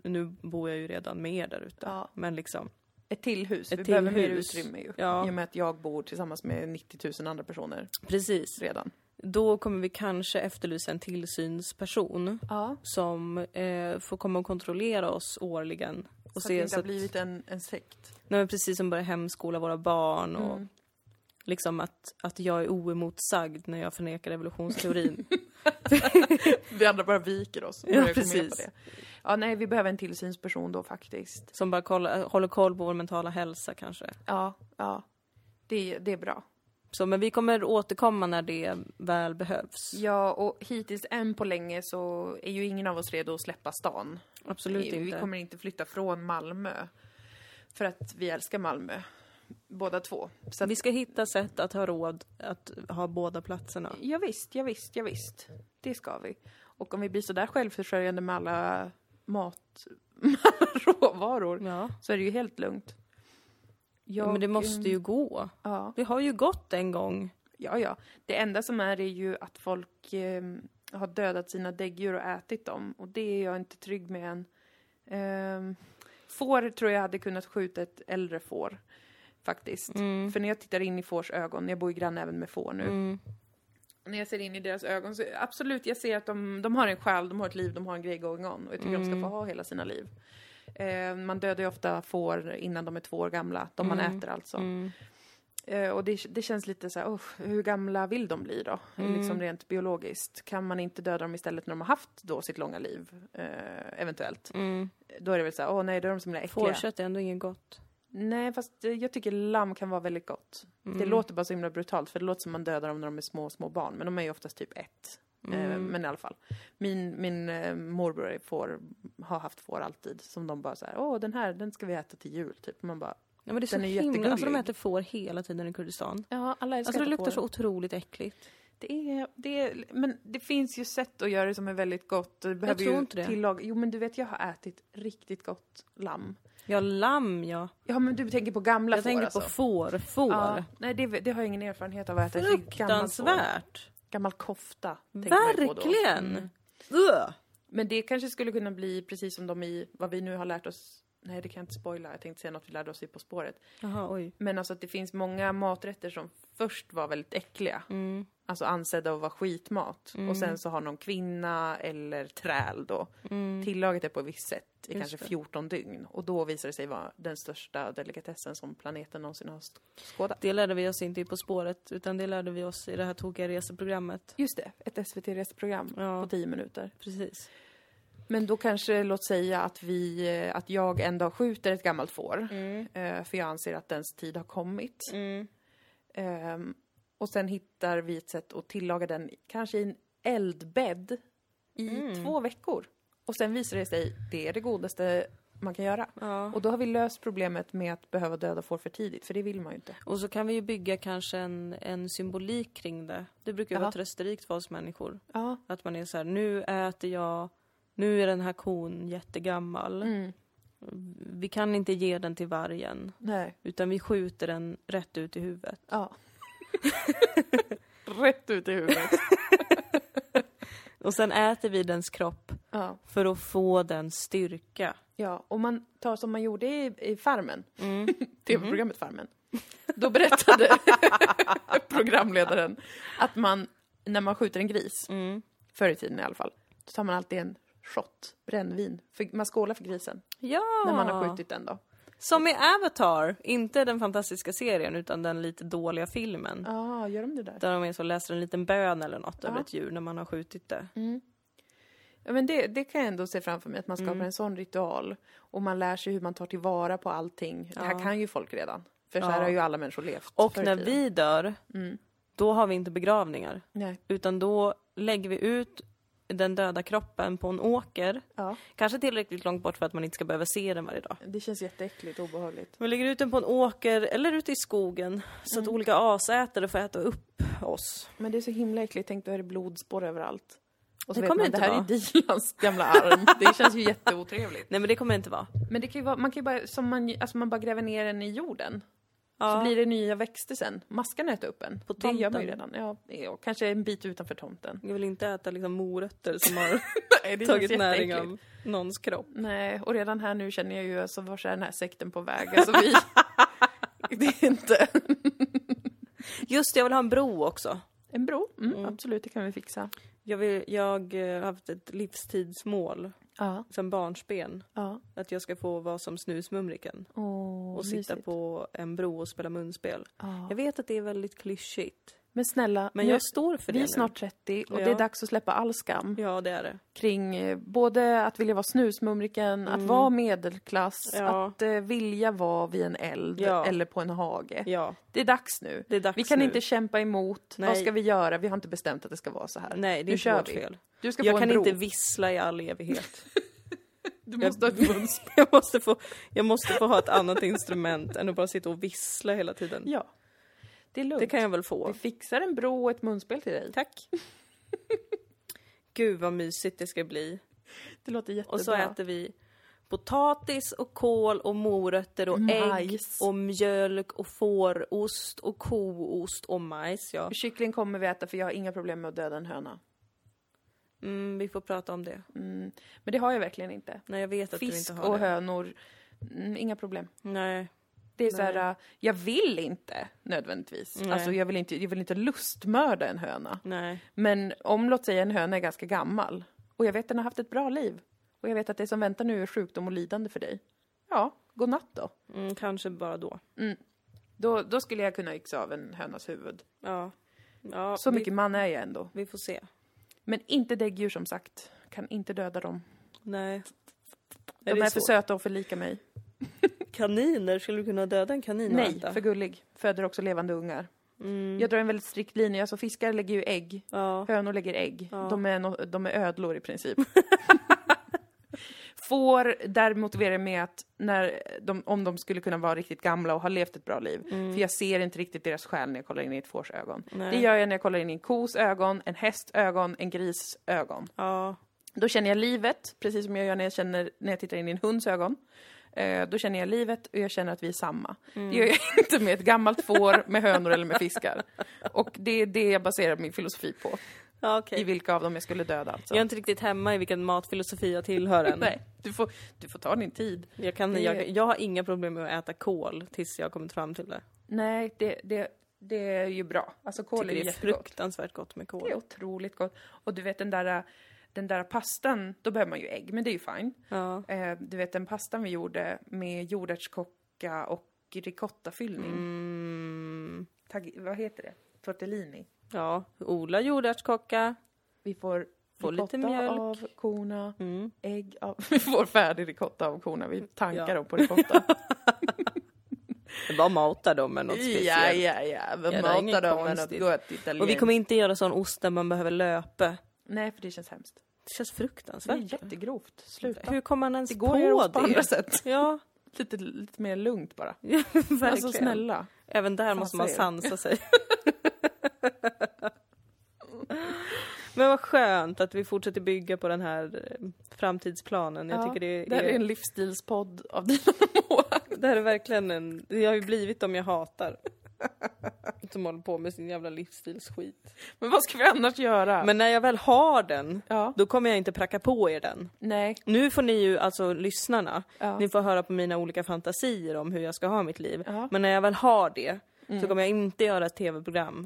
A: nu bor jag ju redan med er där ute.
B: Ja.
A: Men liksom,
B: Ett till hus,
A: Ett
B: vi
A: till
B: behöver mer
A: hus.
B: utrymme ju.
A: Ja.
B: I och med att jag bor tillsammans med 90 000 andra personer
A: precis.
B: redan.
A: Då kommer vi kanske efterlysa en tillsynsperson
B: Ja.
A: som eh, får komma och kontrollera oss årligen. Och
B: Så att det
A: se
B: inte
A: så
B: har
A: att,
B: blivit en, en sekt.
A: nej, men precis som börjar hemskola våra barn och
B: Mm.
A: liksom att, att jag är oemotsagd när jag förnekar evolutionsteorin. *laughs*
B: Vi andra bara viker oss. och
A: Ja,
B: börjar gå med
A: precis.
B: på det. Ja, nej, vi behöver en tillsynsperson då faktiskt.
A: som bara kolla, håller koll på vår mentala hälsa kanske.
B: Ja, ja. Det, det är bra.
A: Så, men vi kommer återkomma när det väl behövs.
B: Ja, och hittills än på länge så är ju ingen av oss redo att släppa stan.
A: Absolut
B: vi,
A: inte.
B: vi kommer inte flytta från Malmö. För att vi älskar Malmö. Båda två. Så att,
A: Vi ska hitta sätt att ha råd att ha båda platserna.
B: ja, visst, ja, visst, ja, visst. Det ska vi. Och om vi blir sådär självförsörjande med alla mat, *laughs* råvaror
A: Ja.
B: så är det ju helt lugnt. Jag,
A: Men det måste
B: ehm,
A: ju gå.
B: Ja,
A: Det har ju gått en gång.
B: ja, ja. Det enda som är är ju att folk eh, har dödat sina däggdjur och ätit dem och det är jag inte trygg med än. Ehm, får tror jag hade kunnat skjuta ett äldre får faktiskt. För när jag tittar in i fårs ögon, jag bor ju grann även med får nu. När jag ser in i deras ögon så absolut, jag ser att de, de har en själ, de har ett liv, de har en grej going on och jag tycker de ska få ha hela sina liv. Eh, man dödar ju ofta får innan de är två år gamla, de man äter alltså. Eh, och det, det känns lite så här, "Uff, hur gamla vill de bli då? Liksom rent biologiskt. Kan man inte döda dem istället när de har haft då sitt långa liv? Eh, eventuellt. Då är det väl så här, åh nej, då är de så himla äckliga.
A: Fårkött är ändå inget gott.
B: Nej, fast eh, jag tycker lamm kan vara väldigt gott. Det låter bara så himla brutalt, för det låter som man dödar dem när de är små, små barn. Men de är ju oftast typ ett. Eh, men i alla fall. Min, min eh, morbror är får, har haft får alltid, som de bara så här, åh den här, den ska vi äta till jul, typ. Man bara,
A: Ja, men det är så
B: Den är
A: himla... Alltså de
B: jättegullig.
A: äter får hela tiden i Kurdistan.
B: ja, alla
A: Alltså det luktar så otroligt äckligt.
B: Det är, det är, men det finns ju sätt att göra det som är väldigt gott. och Det behöver
A: tror
B: ju
A: inte det.
B: Tillag... Jo, men du vet, jag har ätit riktigt gott lamm.
A: Ja, lamm ja.
B: Ja, men du tänker på gamla
A: Jag
B: får
A: tänker
B: alltså.
A: på får. Får.
B: Ja, nej, det, det har jag ingen erfarenhet av att äta. riktigt gammalt får.
A: Fruktansvärt.
B: Gammal kofta. tänker man ju på då. Mm.
A: Verkligen. Ugh.
B: Men det kanske skulle kunna bli precis som de i, vad vi nu har lärt oss. Nej, det kan jag inte spoila. Jag tänkte säga något vi lärde oss i På spåret.
A: Jaha, oj.
B: Men alltså att det finns många maträtter som först var väldigt äckliga. Alltså ansedda att vara skitmat. Och sen så har någon kvinna eller träl då tillagat det på ett visst sätt i kanske 14 dygn. Och då visar det sig vara den största delikatessen som planeten någonsin har sk- skådat.
A: Det lärde vi oss inte i På spåret, utan det lärde vi oss i det här tokiga reseprogrammet.
B: Just det, ett SVT-reseprogram
A: Ja.
B: på 10 minuter.
A: Precis.
B: Men då kanske, låt säga att vi, eh, att jag en dag skjuter ett gammalt får. Eh, För jag anser att dens tid har kommit. Ehm, och sen hittar vi ett sätt att tillaga den, kanske i en eldbädd, i två veckor. Och sen visar det sig, det är det godaste man kan göra.
A: Ja.
B: Och då har vi löst problemet med att behöva döda får för tidigt, för det vill man ju inte.
A: Och så kan vi ju bygga kanske en, en symbolik kring det. Det brukar ju
B: Ja.
A: vara trösterikt för oss människor.
B: Ja,
A: Att man är så här, nu äter jag, nu är den här kon jättegammal.
B: Mm.
A: Vi kan inte ge den till vargen,
B: nej,
A: utan vi skjuter den rätt ut i huvudet.
B: ja. *laughs* Rätt ut i huvudet.
A: Och sen äter vi dens kropp
B: Ja.
A: för att få den styrka.
B: Ja, och man tar som man gjorde i, i Farmen, *laughs* tv-programmet Farmen. Då berättade *laughs* programledaren att man, när man skjuter en gris, förr i tiden i alla fall, då tar man alltid en shot brännvin. För man skålar för grisen
A: Ja!
B: när man har skjutit den då.
A: Som i Avatar, inte den fantastiska serien utan den lite dåliga filmen.
B: Ja, ah, gör de det där?
A: Där de är så läser en liten bön eller något över ett djur när man har skjutit det.
B: Mm. Ja, men det, det kan jag ändå se framför mig, att man skapar en sån ritual. Och man lär sig hur man tar tillvara på allting. Det här kan ju folk redan. För så här
A: Ja.
B: har ju alla människor levt
A: Och
B: förr i
A: när
B: tiden. Mm.
A: vi dör, då har vi inte begravningar.
B: Nej.
A: Utan då lägger vi ut den döda kroppen på en åker.
B: Ja,
A: Kanske tillräckligt långt bort för att man inte ska behöva se den varje dag.
B: det känns jätteäckligt och obehagligt.
A: Vi lägger ut den på en åker eller ute i skogen så att
B: Mm.
A: olika asätare får äta upp oss.
B: Men det är så himla äckligt, tänk då är det blodspår överallt. Och
A: Det
B: så vet
A: kommer
B: man,
A: inte
B: det här
A: vara.
B: är Dilans gamla *laughs* arm. Det känns ju jätteotrevligt.
A: Nej men det kommer det inte vara.
B: Men det kan ju vara, man kan ju bara, som man, alltså man bara gräver ner den i jorden. Så
A: Ja.
B: blir det nya växter sen. Maskarna äter upp en.
A: På
B: det gör man ju
A: tomten.
B: redan. Ja, ja, kanske en bit utanför tomten.
A: Jag vill inte äta liksom morötter som *laughs* har
B: Nej, *laughs* det
A: tagit näring av någons kropp.
B: Nej, och redan här nu känner jag ju alltså, vart är den här sekten på väg? Alltså vi... det är inte...
A: Just det, jag vill ha en bro också.
B: En bro? Mm,
A: Mm.
B: Absolut, det kan vi fixa.
A: Jag, vill, jag eh, har haft ett livstidsmål
B: Ja.
A: sen barnsben.
B: ja.
A: Att jag ska få vara som Snusmumriken
B: Åh,
A: och sitta
B: mysigt.
A: på en bro och spela munspel.
B: Ja.
A: Jag vet att det är väldigt klyschigt.
B: Men snälla,
A: Men
B: nu-
A: jag står för det
B: vi är
A: nu.
B: snart 30 och
A: Ja.
B: det är dags att släppa all skam
A: Ja, det är det.
B: kring eh, både att vilja vara snusmumriken, att vara medelklass,
A: Mm. Ja.
B: att eh, vilja vara vid en eld
A: Ja.
B: eller på en hage.
A: Ja,
B: Det är dags nu.
A: det är dags
B: vi kan
A: nu.
B: inte kämpa emot. Vad
A: Nej.
B: ska vi göra? Vi har inte bestämt att det ska vara så här.
A: Nej, det
B: nu
A: är inte
B: kör
A: vårt
B: vi.
A: fel.
B: Du ska
A: Jag
B: få en
A: kan
B: bro.
A: inte vissla i all
B: *laughs*
A: evighet.
B: Du
A: Jag-
B: måste ha
A: *laughs*
B: ett mums.
A: jag, måste få, jag måste få ha ett annat instrument än att bara sitta och vissla hela tiden.
B: Ja. Det är lugnt.
A: Det kan jag väl få.
B: Vi fixar en bro och ett munspel till dig.
A: Tack. Gud vad mysigt det ska bli.
B: Det låter jättebra.
A: Och så äter vi potatis och kål och morötter och ägg
B: Mm, Majs.
A: och mjölk och fårost och koost och majs. Ja.
B: Kyckling kommer vi äta för jag har inga problem med att döda en höna.
A: Mm, vi får prata om det.
B: Mm. Men det har jag verkligen inte.
A: Nej, jag vet att du
B: Fisk
A: inte har
B: och
A: det.
B: hönor, mm, inga problem.
A: Nej.
B: Det är så här, äh, jag vill inte nödvändigtvis.
A: Nej.
B: Alltså jag vill inte, jag vill inte lustmörda en höna.
A: Nej.
B: Men om låt säga en höna är ganska gammal och jag vet att den har haft ett bra liv och jag vet att det som väntar nu är sjukdom och lidande för dig. Ja, god natt då.
A: Mm, kanske bara då.
B: Då, då skulle jag kunna yxa av en hönas huvud.
A: Ja. ja
B: Så
A: vi,
B: mycket man är jag ändå.
A: Vi får se.
B: Men inte däggdjur som sagt. Kan inte döda dem.
A: Nej.
B: De
A: Nej, det
B: är,
A: är
B: för
A: svårt.
B: söta och för lika mig.
A: Kaniner, skulle du kunna döda en kanin och
B: Nej,
A: äta? Mm,
B: för gullig. Föder också levande ungar. Jag drar en väldigt strikt linje. Alltså fiskar lägger ju ägg.
A: Ja.
B: Hönor lägger ägg.
A: Ja.
B: De, är no- de är ödlor
A: *laughs*
B: i princip. Får, där motiverar jag med att när de, om de skulle kunna vara riktigt gamla och ha levt ett bra liv. För jag ser inte riktigt deras själ när jag kollar in i ett fårs ögon.
A: Mm. Nej.
B: Det gör jag när jag kollar in i en kos ögon, en hästs ögon, en gris ögon.
A: Ja.
B: Då känner jag livet, precis som jag gör när jag, känner, när jag tittar in i en hunds ögon. Eh, då känner jag livet och jag känner att vi är samma. Det gör jag *laughs* inte med ett gammalt får, med hönor eller med fiskar. Och det är det jag baserar min filosofi på.
A: ja okej.
B: I vilka av dem jag skulle döda alltså.
A: Jag är inte riktigt hemma i vilken matfilosofi jag tillhör än.
B: Nej, du får, du får ta din tid.
A: Jag, kan,
B: Det-
A: jag, jag har inga problem med att äta kål tills jag kommit fram till det.
B: Nej, det, det, det är ju bra. Alltså kål är
A: Tycker
B: ju
A: det är
B: jättegott.
A: fruktansvärt gott med
B: Det är
A: kål.
B: otroligt gott. Och du vet den där, den där pastan, då behöver man ju ägg, men det är ju fine.
A: Ja.
B: Eh, du vet den pastan vi gjorde med jordärtskocka och ricottafyllning.
A: Mm.
B: Tag- vad heter det? Tortellini.
A: Ja, odla jordärtskocka.
B: Vi får
A: Få lite
B: ricotta
A: mjölk.
B: av korna,
A: Mm.
B: ägg av... *laughs* Vi får färdig ricotta av korna, vi tankar
A: Ja.
B: dem
A: *laughs*
B: på ricotta.
A: Det var matar dem med något speciellt.
B: ja, ja, ja. Vi
A: det är
B: matar
A: inget
B: dem med något
A: konstigt.
B: gott
A: Och vi
B: italienskt.
A: kommer inte göra sån ost där man behöver löpe.
B: Nej, för det känns hemskt.
A: Det känns
B: Det är
A: fruktansvärt.
B: jättegrovt. Sluta.
A: Hur kommer man ens
B: Det
A: på
B: går att göra
A: det?
B: ost på andra sätt. *laughs*
A: Ja,
B: Lite, lite mer lugnt bara.
A: verkligen.
B: Alltså snälla.
A: Även där måste man
B: säger
A: sansa
B: *laughs*
A: sig. Men vad skönt att vi fortsätter bygga på den här eh, framtidsplanen. Jag
B: Ja,
A: tycker det
B: Det här
A: är,
B: är en livsstilspodd av dina *laughs* mål.
A: det här är verkligen en... Det har ju blivit dem jag hatar. Som håller på med sin jävla livsstilsskit.
B: Men vad ska vi annars göra?
A: Men när jag väl har den,
B: ja.
A: då kommer jag inte pracka på er den.
B: Nej.
A: Nu får ni ju, alltså lyssnarna,
B: Ja.
A: ni får höra på mina olika fantasier om hur jag ska ha mitt liv.
B: Ja. Mm.
A: Men när jag väl har det, så kommer jag inte göra ett tv-program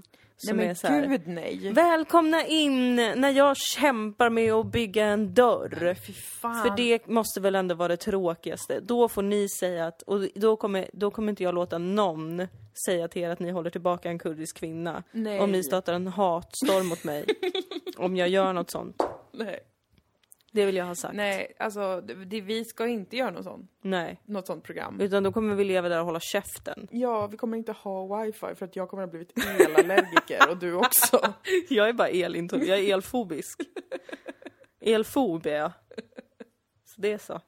B: Nej
A: som är
B: men
A: så här,
B: gud nej.
A: Välkomna in när jag kämpar med att bygga en dörr.
B: Fy fan.
A: För det måste väl ändå vara det tråkigaste. Då får ni säga att, och då kommer, då kommer inte jag låta någon säga till er att ni håller tillbaka en kurdisk kvinna.
B: Nej.
A: Om ni startar en hatstorm mot
B: *laughs*
A: mig. om jag gör något sånt.
B: Nej.
A: Det vill jag ha sagt. Nej.
B: Nej, alltså det, det, vi ska inte göra något sånt, något sånt program.
A: Utan då kommer vi leva där och hålla käften. *laughs*
B: Ja, vi kommer inte ha wifi för att jag kommer ha blivit elallergiker och du också.
A: Jag är bara elintolerant, jag är
B: *laughs*
A: elfobisk. Elfob är jag. Så det är så.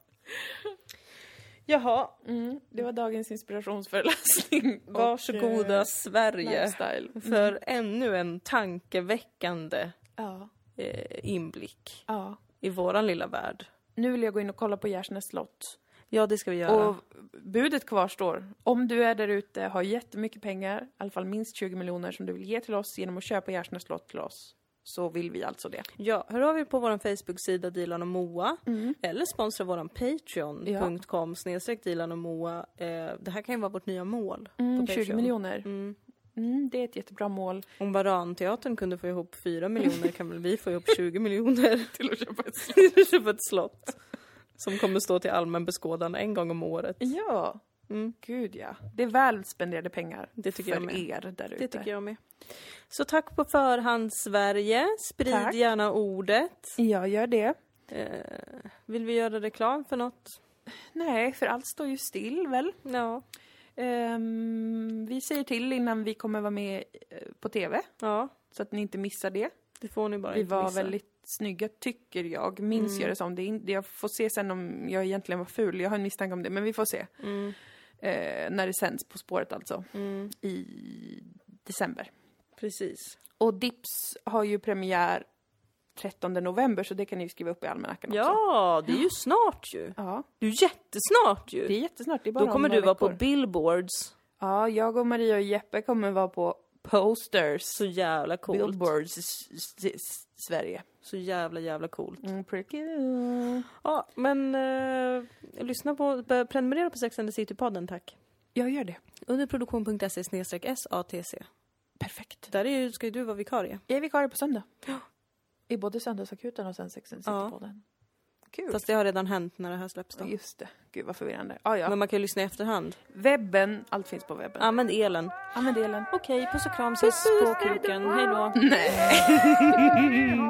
A: Jaha.
B: Mm, *laughs* det var dagens inspirationsföreläsning. och,
A: Varsågoda
B: eh, Mm.
A: Sverige
B: Lifestyle.
A: för ännu en tankeväckande
B: Ja,
A: eh, inblick
B: ja.
A: i våran lilla värld.
B: Nu vill jag gå in och kolla på Gärsnäs slott.
A: Ja, det ska vi göra.
B: Och budet kvarstår. Om du är där ute, har jättemycket pengar, i alla fall minst 20 miljoner som du vill ge till oss genom att köpa Gärsnäs slott till oss, så vill vi alltså det.
A: Ja, hör av er på vår Facebook-sida Dilan och Moa eller sponsra våran Patreon.com snedstreck Dilan och Moa. Eh, det här kan ju vara vårt nya mål. på Patreon.
B: 20 Mm, miljoner.
A: Mm.
B: Mm, det är ett jättebra mål.
A: Om Varanteatern kunde få ihop 4 miljoner kan väl vi få *laughs* ihop 20 miljoner *laughs*
B: Till att köpa ett slott.
A: till att köpa ett slott. Som kommer stå till allmän beskådan en gång om året.
B: Ja.
A: Mm.
B: Gud ja. Det är väl spenderade pengar.
A: Det tycker
B: för
A: jag med.
B: er där ute.
A: Det tycker jag med. Så tack på förhand Sverige. Sprid
B: Tack.
A: gärna ordet.
B: Jag gör det.
A: Eh, vill vi göra reklam för något?
B: Nej, för allt står ju still väl?
A: Ja.
B: Ehm, vi säger till innan vi kommer vara med eh, på TV.
A: Ja,
B: Så att ni inte missar det.
A: det får ni bara
B: Vi
A: inte Mm.
B: var
A: missa.
B: väldigt snygga tycker jag. Minns jag det som. Det är in, jag får se sen om jag egentligen var ful. Jag har en misstanke om det. Men vi får se.
A: Mm.
B: Eh, när det sänds På spåret alltså.
A: Mm.
B: I december.
A: Precis.
B: Och Dips har ju premiär 13 november så det kan ni ju skriva upp i almanackan också.
A: Ja, det är ju snart ju.
B: Ja.
A: Du är jättesnart ju.
B: Det är jättesnart. Det är bara
A: Då
B: om
A: kommer
B: några
A: du vara på
B: veckor.
A: billboards.
B: Ja, jag och Maria och Jeppe kommer vara på posters.
A: Så jävla coolt.
B: Billboards s- s- s- Sverige.
A: Så jävla jävla coolt.
B: Mm, pretty.
A: Ja, men eh, lyssna på, be- prenumerera på Sex and the City-podden tack.
B: Jag gör det.
A: Under produktion.se SATC.
B: Perfekt.
A: Där är ju, ska ju du vara vikarie.
B: Jag är vikarie på söndag. *gasps* I både Söndagsakuten och sen Sex and the
A: Ja.
B: City-podden. Kul.
A: Fast det har redan hänt när det här släpps då.
B: Just det. Gud vad förvirrande. Ah, ja.
A: Men man kan ju lyssna i efterhand.
B: Webben. Allt finns på webben.
A: Använd elen.
B: Använd elen.
A: Okej, puss och kram, ses på kroken. Hej då.
B: Nej.